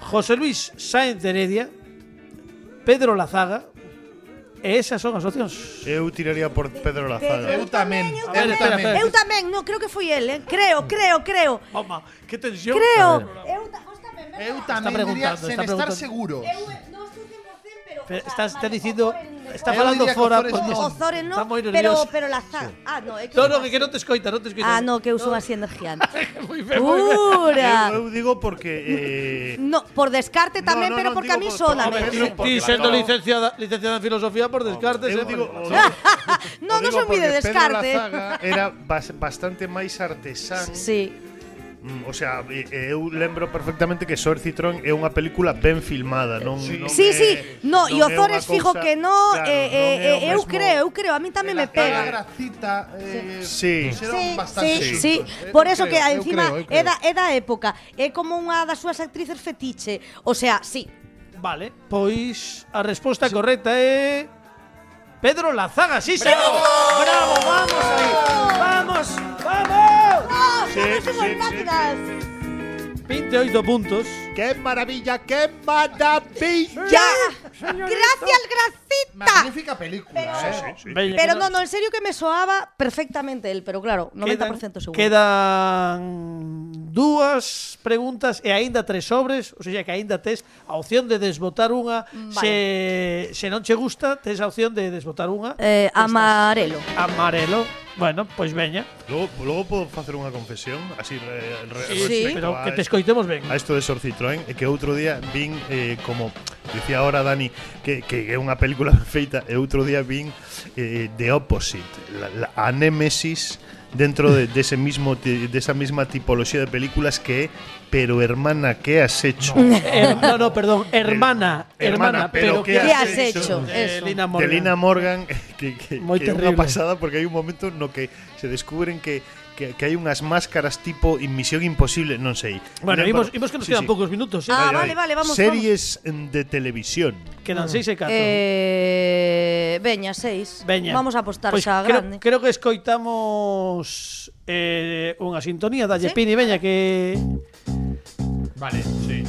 [SPEAKER 2] José Luis Sáenz de Heredia, Pedro Lazaga, e esas son as opcións.
[SPEAKER 3] Eu tiraría por Pedro Lazaga.
[SPEAKER 7] Eu tamén,
[SPEAKER 5] Eu
[SPEAKER 7] eu
[SPEAKER 2] tamén.
[SPEAKER 7] tamén.
[SPEAKER 2] Espera,
[SPEAKER 5] Eu tamén, no, creo que foi el, eh. Creo, creo, creo.
[SPEAKER 2] Mamá, qué tensión.
[SPEAKER 5] Creo. Eu ta- vos tamén, verdad?
[SPEAKER 7] Eu
[SPEAKER 2] Está
[SPEAKER 7] tamén diría
[SPEAKER 2] preguntando,
[SPEAKER 7] sen
[SPEAKER 2] está
[SPEAKER 7] estar
[SPEAKER 2] preguntando.
[SPEAKER 7] seguros.
[SPEAKER 5] Eu, eh, non estou 100%, pero,
[SPEAKER 2] Pero
[SPEAKER 5] o sea,
[SPEAKER 2] estás, está
[SPEAKER 5] vale,
[SPEAKER 2] diciendo.
[SPEAKER 5] Ozores non é
[SPEAKER 2] Está
[SPEAKER 5] Ozores.
[SPEAKER 2] hablando
[SPEAKER 7] diría que
[SPEAKER 2] fuera.
[SPEAKER 7] Ozores
[SPEAKER 2] porque
[SPEAKER 7] no.
[SPEAKER 5] Ozores
[SPEAKER 2] Está
[SPEAKER 5] no,
[SPEAKER 2] muy
[SPEAKER 5] pero,
[SPEAKER 2] nervioso.
[SPEAKER 5] pero la zaga. Ah, no, é que
[SPEAKER 2] No,
[SPEAKER 5] non
[SPEAKER 2] no, que, que no te escoita, no te escoita.
[SPEAKER 5] Ah, no, que eu son así energiante.
[SPEAKER 3] Eu,
[SPEAKER 5] Pura.
[SPEAKER 3] eu digo porque eh,
[SPEAKER 5] No, por descarte tamén,
[SPEAKER 3] no,
[SPEAKER 5] pero
[SPEAKER 3] no,
[SPEAKER 5] porque a
[SPEAKER 3] digo
[SPEAKER 5] mí
[SPEAKER 3] por-
[SPEAKER 5] sola.
[SPEAKER 3] por-
[SPEAKER 5] me-
[SPEAKER 3] por-
[SPEAKER 5] me-
[SPEAKER 3] por-
[SPEAKER 2] Y
[SPEAKER 3] Porque
[SPEAKER 2] siendo
[SPEAKER 3] la-
[SPEAKER 2] licenciada, licenciada en filosofía por descartes.
[SPEAKER 3] eu
[SPEAKER 2] eh,
[SPEAKER 3] digo
[SPEAKER 2] porque-
[SPEAKER 3] o-
[SPEAKER 5] Ah,
[SPEAKER 3] o
[SPEAKER 5] No, non
[SPEAKER 3] digo
[SPEAKER 5] son moi de
[SPEAKER 3] porque
[SPEAKER 5] descarte.
[SPEAKER 3] Pedro Lazaga era bas- bastante máis artesán.
[SPEAKER 5] Sí.
[SPEAKER 3] Mm, O sea, e- e eu lembro perfectamente que Sor Citrón é unha película ben filmada, non non
[SPEAKER 5] Sí,
[SPEAKER 3] é-
[SPEAKER 5] sí, no, e
[SPEAKER 3] non é
[SPEAKER 5] Ozores
[SPEAKER 3] unha
[SPEAKER 5] fijo
[SPEAKER 3] cousa-
[SPEAKER 5] que no,
[SPEAKER 3] claro,
[SPEAKER 5] eh,
[SPEAKER 3] non é
[SPEAKER 5] eh,
[SPEAKER 3] o
[SPEAKER 5] eh, eu
[SPEAKER 3] mesmo-
[SPEAKER 5] creo, eu creo, a mí tamén me
[SPEAKER 7] Toda
[SPEAKER 5] pega.
[SPEAKER 7] gracita eh,
[SPEAKER 3] Sí.
[SPEAKER 7] fixeron
[SPEAKER 5] Sí, sí,
[SPEAKER 7] bastante xuntos.
[SPEAKER 5] sí,
[SPEAKER 7] Eu
[SPEAKER 5] por eso
[SPEAKER 7] creo,
[SPEAKER 5] que
[SPEAKER 7] eu
[SPEAKER 5] encima
[SPEAKER 7] creo, eu creo.
[SPEAKER 5] é da, é da época, é como unha das súas actrices fetiche, o sea, sí.
[SPEAKER 2] Vale, pues a respuesta correcta es. Pedro Lazaga, sí, señor. ¡Bravo! ¡Vamos ahí! ¡Vamos! ¡Vamos!
[SPEAKER 5] ¡Oh,
[SPEAKER 3] Sí,
[SPEAKER 5] somos
[SPEAKER 3] sí,
[SPEAKER 5] unos
[SPEAKER 3] sí,
[SPEAKER 5] máquinas!
[SPEAKER 2] 28 puntos.
[SPEAKER 3] ¡Qué maravilla! ¡Qué maravilla!
[SPEAKER 5] ¡Ya! ¡Gracias, gracita!
[SPEAKER 7] Magnífica película, eh.
[SPEAKER 2] Veña,
[SPEAKER 5] Pero
[SPEAKER 2] que
[SPEAKER 5] no, no, en serio que me soaba perfectamente él, pero claro, 90% seguro.
[SPEAKER 2] Quedan dúas preguntas e aínda tres sobres, ou seja, que aínda tes a opción de desbotar unha.
[SPEAKER 5] Mm,
[SPEAKER 2] Se, se non che gusta, tes a opción de desbotar unha.
[SPEAKER 5] Eh, amarelo.
[SPEAKER 2] Amarelo. Bueno, pois veña.
[SPEAKER 3] Luego, luego puedo hacer una confesión, así re- re-
[SPEAKER 5] Sí,
[SPEAKER 3] respecto
[SPEAKER 2] Pero
[SPEAKER 3] a,
[SPEAKER 2] que te escoitemos ben.
[SPEAKER 3] a esto de Sor Citroën, é que outro día vin eh, como dicía ahora Dani que, que é unha película feita, e outro día vin eh, The Opposite, la, la, a Némesis dentro de, de ese mismo ti- de esa misma tipología de películas que é pero hermana, ¿qué has hecho?
[SPEAKER 2] Her- no, no, perdón, hermana, hermana, pero, que
[SPEAKER 5] ¿qué has hecho?
[SPEAKER 2] Eh,
[SPEAKER 5] Eso.
[SPEAKER 2] Lina
[SPEAKER 3] de
[SPEAKER 2] Morgan.
[SPEAKER 3] Lina Morgan que, que,
[SPEAKER 2] Moi
[SPEAKER 3] que é
[SPEAKER 2] terrible.
[SPEAKER 3] unha pasada porque hai un momento no que se descubren que que, que hai unhas máscaras tipo in- Misión Imposible, non sei.
[SPEAKER 2] Bueno,
[SPEAKER 3] Lembro-
[SPEAKER 2] imos, imos que nos
[SPEAKER 3] Sí,
[SPEAKER 2] quedan
[SPEAKER 3] sí.
[SPEAKER 2] poucos minutos. eh.
[SPEAKER 5] Ah, vale, vale, vamos.
[SPEAKER 3] Series de televisión.
[SPEAKER 2] Quedan seis e 4.
[SPEAKER 5] vamos. Eh, veña, 6.
[SPEAKER 2] Veña.
[SPEAKER 5] Vamos a apostar
[SPEAKER 2] Pois
[SPEAKER 5] xa a
[SPEAKER 2] creo,
[SPEAKER 5] grande.
[SPEAKER 2] creo que escoitamos eh, unha sintonía da
[SPEAKER 5] Sí.
[SPEAKER 2] Yepini, veña, que...
[SPEAKER 10] Vale, sí.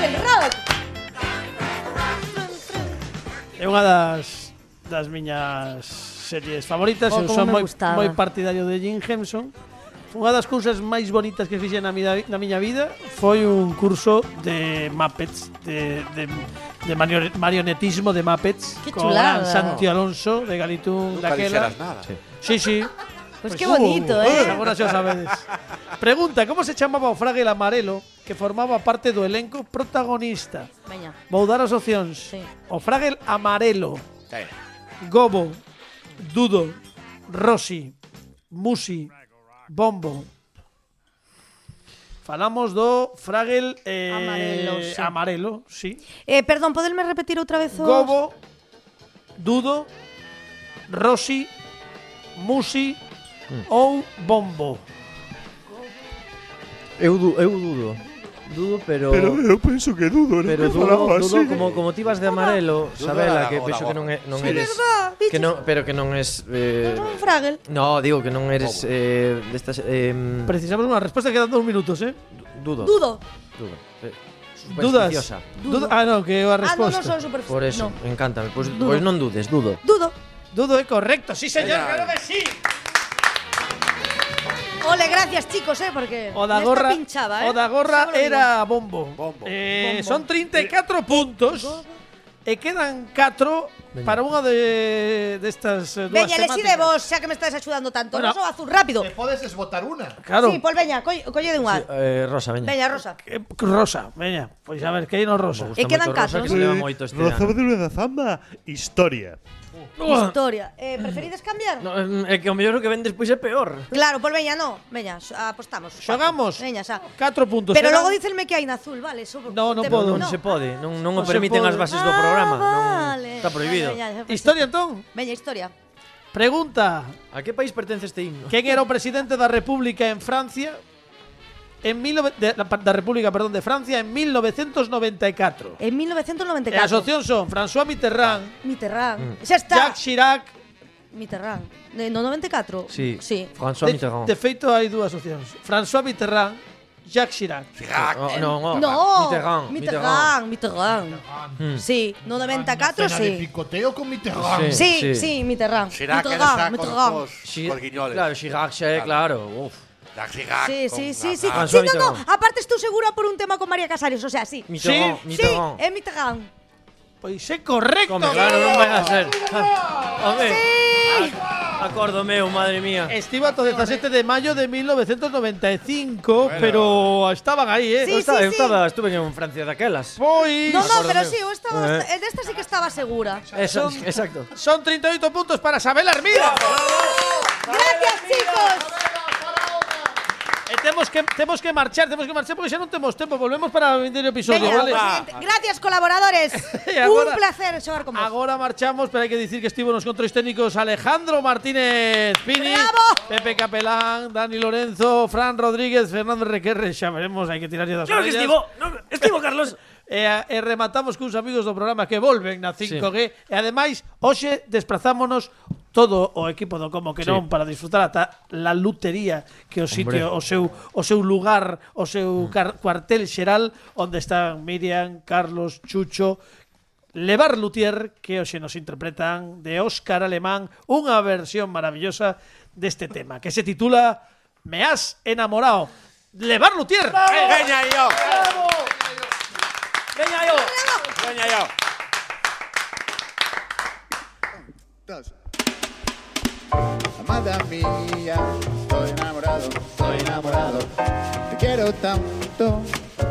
[SPEAKER 5] del rock.
[SPEAKER 2] É unha das das miñas series favoritas,
[SPEAKER 5] Oh,
[SPEAKER 2] eu
[SPEAKER 5] como
[SPEAKER 2] son
[SPEAKER 5] me
[SPEAKER 2] moi
[SPEAKER 5] gustaba.
[SPEAKER 2] moi partidario de Jim Henson. Unha das cousas máis bonitas que fixen na miña, na miña vida foi un curso de Muppets, de, de, de manio- marionetismo de Muppets,
[SPEAKER 5] Que
[SPEAKER 2] con
[SPEAKER 5] chulada.
[SPEAKER 2] Santi Alonso de Galitún
[SPEAKER 4] Nunca
[SPEAKER 2] daquela.
[SPEAKER 4] dixeras nada.
[SPEAKER 2] Sí, sí.
[SPEAKER 5] Pues qué bonito, ¿eh?
[SPEAKER 2] pues Agora xa o sabedes. Pregunta, como se chamaba o Fragel Amarelo que formaba parte do elenco protagonista?
[SPEAKER 5] Veña.
[SPEAKER 2] Vou dar as opcións.
[SPEAKER 5] Sí.
[SPEAKER 2] O Fragel Amarelo,
[SPEAKER 4] Sí.
[SPEAKER 2] Gobo, Dudo, Rossi, Musi, Bombo. Falamos do Fragel eh,
[SPEAKER 5] Amarelo, sí.
[SPEAKER 2] amarelo, sí.
[SPEAKER 5] Eh, perdón, poderme repetir outra vez os...
[SPEAKER 2] Gobo, Dudo, Rossi, Musi ou Bombo.
[SPEAKER 6] Eu, du- eu dudo. Dudo, pero...
[SPEAKER 3] Pero eu penso que dudo, este non?
[SPEAKER 6] Pero dudo,
[SPEAKER 3] Falaba así.
[SPEAKER 6] dudo como, como ti vas de amarelo,
[SPEAKER 4] Dudo
[SPEAKER 6] Sabela,
[SPEAKER 4] da-
[SPEAKER 6] que
[SPEAKER 4] o
[SPEAKER 6] penso
[SPEAKER 4] da
[SPEAKER 6] que non, é, non
[SPEAKER 5] Sí,
[SPEAKER 6] eres...
[SPEAKER 5] verdad,
[SPEAKER 6] Que
[SPEAKER 5] bichos.
[SPEAKER 6] non, pero que non es... Eh,
[SPEAKER 5] Un Fraggle.
[SPEAKER 6] no, digo que non eres... Eh, destas, eh,
[SPEAKER 2] Precisamos unha resposta que dan dos minutos, eh?
[SPEAKER 6] dudo.
[SPEAKER 5] Dudo.
[SPEAKER 6] Dudo. Eh,
[SPEAKER 2] Dudas.
[SPEAKER 6] supersticiosa.
[SPEAKER 2] Duda- ah, non, que é a
[SPEAKER 5] Ah, non, non
[SPEAKER 2] resposta.
[SPEAKER 5] son superficie.
[SPEAKER 6] Por eso,
[SPEAKER 5] No.
[SPEAKER 6] encántame. Pois
[SPEAKER 5] Dudo.
[SPEAKER 6] pois non dudes, dudo.
[SPEAKER 5] Dudo.
[SPEAKER 2] Dudo é correcto, sí, señor, claro que sí.
[SPEAKER 5] Ole, gracias, chicos, eh, porque
[SPEAKER 2] O da
[SPEAKER 5] nesta
[SPEAKER 2] gorra,
[SPEAKER 5] pinchaba, eh.
[SPEAKER 2] o da gorra
[SPEAKER 5] Xa vos lo
[SPEAKER 2] era bombo.
[SPEAKER 4] Bombo.
[SPEAKER 2] Eh,
[SPEAKER 5] Bombo.
[SPEAKER 2] Son 34 puntos e quedan 4 para unha de destas eh,
[SPEAKER 5] digo.
[SPEAKER 2] dúas
[SPEAKER 5] Veña, lexi de
[SPEAKER 2] temáticas.
[SPEAKER 5] vos, xa que me estáis axudando tanto.
[SPEAKER 2] Bueno.
[SPEAKER 5] Rosa ou azul, rápido.
[SPEAKER 7] Te podes esbotar una.
[SPEAKER 2] Claro.
[SPEAKER 5] Sí, pois veña, colle, colle de unha.
[SPEAKER 6] Eh, Rosa, veña.
[SPEAKER 5] Veña, Rosa.
[SPEAKER 2] Eh, rosa, veña, pois a ver, que hai no rosa.
[SPEAKER 5] E quedan
[SPEAKER 6] Rosa,
[SPEAKER 5] catro, non?
[SPEAKER 6] que se leva moito este
[SPEAKER 3] Roza de
[SPEAKER 6] ano.
[SPEAKER 3] Rueda Zamba, historia.
[SPEAKER 5] Historia.
[SPEAKER 2] Mm.
[SPEAKER 5] Eh, preferides cambiar?
[SPEAKER 6] No, em, é que o mellor o que ven despois é peor.
[SPEAKER 5] Claro, pois veña, no. Veña, s- apostamos.
[SPEAKER 2] Xogamos.
[SPEAKER 5] Veña, xa.
[SPEAKER 2] 4 puntos.
[SPEAKER 5] Pero
[SPEAKER 2] eran.
[SPEAKER 5] logo dicenme que hai en azul, vale? Eso,
[SPEAKER 2] No, no
[SPEAKER 5] te-
[SPEAKER 2] podo, No.
[SPEAKER 6] Non se pode, non, non
[SPEAKER 2] Non
[SPEAKER 6] o
[SPEAKER 2] se
[SPEAKER 6] permiten
[SPEAKER 2] pode.
[SPEAKER 6] as bases do
[SPEAKER 5] Ah,
[SPEAKER 6] programa.
[SPEAKER 5] vale.
[SPEAKER 6] Non, está prohibido.
[SPEAKER 5] Veña, veña, veña.
[SPEAKER 2] Historia entón.
[SPEAKER 5] Veña, historia.
[SPEAKER 2] Pregunta,
[SPEAKER 6] A que país pertence este himno?
[SPEAKER 2] quen era o presidente da República en Francia? En 19 de, la- da República, perdón, de Francia en 1994.
[SPEAKER 5] En
[SPEAKER 2] E as
[SPEAKER 5] 1994.
[SPEAKER 2] opcións son François Mitterrand,
[SPEAKER 6] Mm.
[SPEAKER 5] Mitterrand. Xa este está.
[SPEAKER 2] Jacques Chirac,
[SPEAKER 5] Mitterrand. De, no 94?
[SPEAKER 6] Sí.
[SPEAKER 5] Sí.
[SPEAKER 2] De,
[SPEAKER 6] François Mitterrand.
[SPEAKER 2] de feito, hai dúas opcións. François Mitterrand, Jacques Chirac.
[SPEAKER 6] Oh,
[SPEAKER 4] eh,
[SPEAKER 6] non, oh,
[SPEAKER 5] No.
[SPEAKER 6] Mitterrand, Mitterrand.
[SPEAKER 5] Mitterrand. Mitterrand.
[SPEAKER 6] Mm.
[SPEAKER 5] Sí. No 94,
[SPEAKER 7] Cena de
[SPEAKER 5] sí.
[SPEAKER 7] picoteo con Mitterrand.
[SPEAKER 5] Sí,
[SPEAKER 6] Sí.
[SPEAKER 5] sí, Mitterrand.
[SPEAKER 4] Será que
[SPEAKER 5] Mitterrand,
[SPEAKER 4] está con
[SPEAKER 5] Mitterrand.
[SPEAKER 4] os
[SPEAKER 6] Xi-
[SPEAKER 4] colguiñoles.
[SPEAKER 6] Claro, Chirac, xa é claro. Uf.
[SPEAKER 4] La Girac
[SPEAKER 5] Sí,
[SPEAKER 4] con
[SPEAKER 5] sí, sí,
[SPEAKER 6] Ah,
[SPEAKER 4] la-
[SPEAKER 5] sí.
[SPEAKER 4] la-
[SPEAKER 5] Sí,
[SPEAKER 6] François
[SPEAKER 5] no, no.
[SPEAKER 6] Mitterrand.
[SPEAKER 5] Aparte estou segura por un tema con María Casares, o sea, sí.
[SPEAKER 6] Mitterrand,
[SPEAKER 5] Sí,
[SPEAKER 6] Mitterrand.
[SPEAKER 5] é Mitterrand.
[SPEAKER 2] Pois é correcto.
[SPEAKER 6] Come, claro, non vai a Ah, ser. Home,
[SPEAKER 5] Sí.
[SPEAKER 6] acordo meu, madre mía.
[SPEAKER 2] Estiva o 17 de maio de 1995, e pero estaban aí, eh.
[SPEAKER 5] Sí,
[SPEAKER 6] eu estaba,
[SPEAKER 5] sí,
[SPEAKER 6] eu
[SPEAKER 5] sí.
[SPEAKER 6] estaba, estuve en Francia daquelas.
[SPEAKER 2] Pois
[SPEAKER 5] No, no, pero
[SPEAKER 6] Acordo
[SPEAKER 5] sí, eu
[SPEAKER 6] meu.
[SPEAKER 5] estaba,
[SPEAKER 6] Eh.
[SPEAKER 5] en esta sí que estaba segura.
[SPEAKER 6] Eso, exacto.
[SPEAKER 2] son 38 puntos para Sabel Armida.
[SPEAKER 5] Gracias, chicos.
[SPEAKER 2] E temos que temos que marchar, temos que marchar porque xa non temos tempo. Volvemos para o vindeiro episodio,
[SPEAKER 5] Veña,
[SPEAKER 2] vale?
[SPEAKER 5] presidente. Gracias, colaboradores.
[SPEAKER 2] E agora-
[SPEAKER 5] Un placer xogar con vos.
[SPEAKER 2] Agora marchamos, pero hai que dicir que estivo nos controis técnicos Alejandro Martínez Pini,
[SPEAKER 5] Bravo.
[SPEAKER 2] Pepe Capelán, Dani Lorenzo, Fran Rodríguez, Fernando Requerre, xa veremos, hai que tirarlle das
[SPEAKER 6] Claro que
[SPEAKER 2] orellas.
[SPEAKER 6] estivo, non, estivo Carlos.
[SPEAKER 2] E, a- e Eh, rematamos cuns amigos do programa que volven na 5G E ademais, hoxe desplazámonos todo o equipo do Como que
[SPEAKER 6] Sí.
[SPEAKER 2] non para disfrutar ata la lutería que o sitio,
[SPEAKER 6] Hombre. Mm.
[SPEAKER 2] o seu o seu lugar, o seu car- cuartel xeral onde están Miriam, Carlos, Chucho, Levar Lutier, que hoxe nos interpretan de Óscar Alemán unha versión maravillosa deste tema que se titula Me has enamorado. Levar eh, Lutier.
[SPEAKER 4] Veña yo,
[SPEAKER 2] Veña yo.
[SPEAKER 4] veña yo.
[SPEAKER 11] Amada mía, estoy enamorado, estoy enamorado. Te quiero tanto,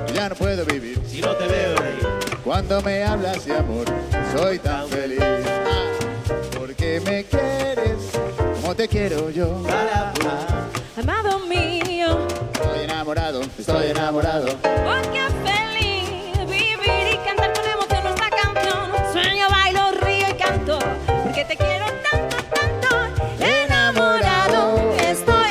[SPEAKER 11] que ya no puedo vivir. Si no te veo Cuando me hablas de amor, soy tan feliz. Ah, Porque me quieres, como te quiero yo.
[SPEAKER 9] Amado mío,
[SPEAKER 11] Estoy enamorado, estoy enamorado.
[SPEAKER 9] porque feliz vivir y cantar con emoción nuestra canción. Sueño, bailo, río y canto, porque te quiero tanto, tanto. Enamorado estoy.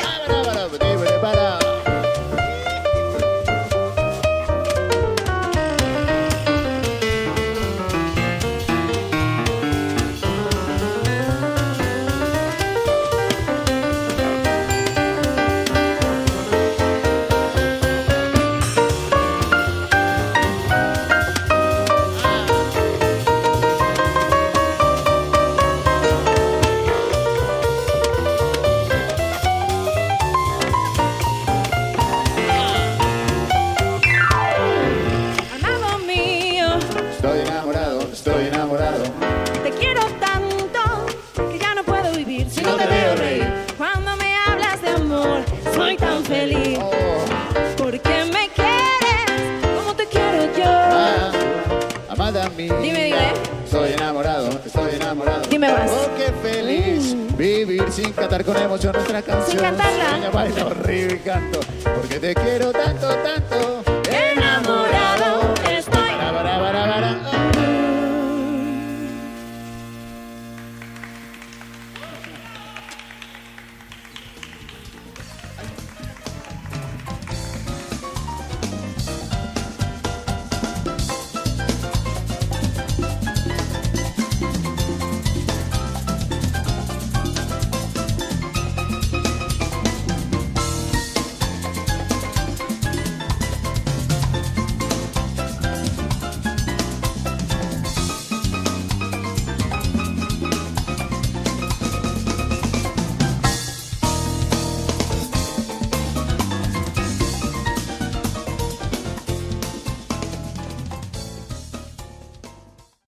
[SPEAKER 7] estoy enamorado.
[SPEAKER 5] Te quiero tanto que ya no puedo vivir si no te veo reír. Cuando me hablas de amor, soy tan feliz. Porque me quieres como te quiero
[SPEAKER 7] Ah,
[SPEAKER 5] yo.
[SPEAKER 7] amada mía.
[SPEAKER 5] Dime, dime.
[SPEAKER 7] Estoy enamorado, estoy enamorado.
[SPEAKER 5] Dime más.
[SPEAKER 7] Oh, qué feliz
[SPEAKER 5] Mm.
[SPEAKER 7] vivir sin cantar con emoción nuestra canción.
[SPEAKER 5] cantarla.
[SPEAKER 7] Sueño, bailo, río y canto. Porque te quiero tanto, tanto.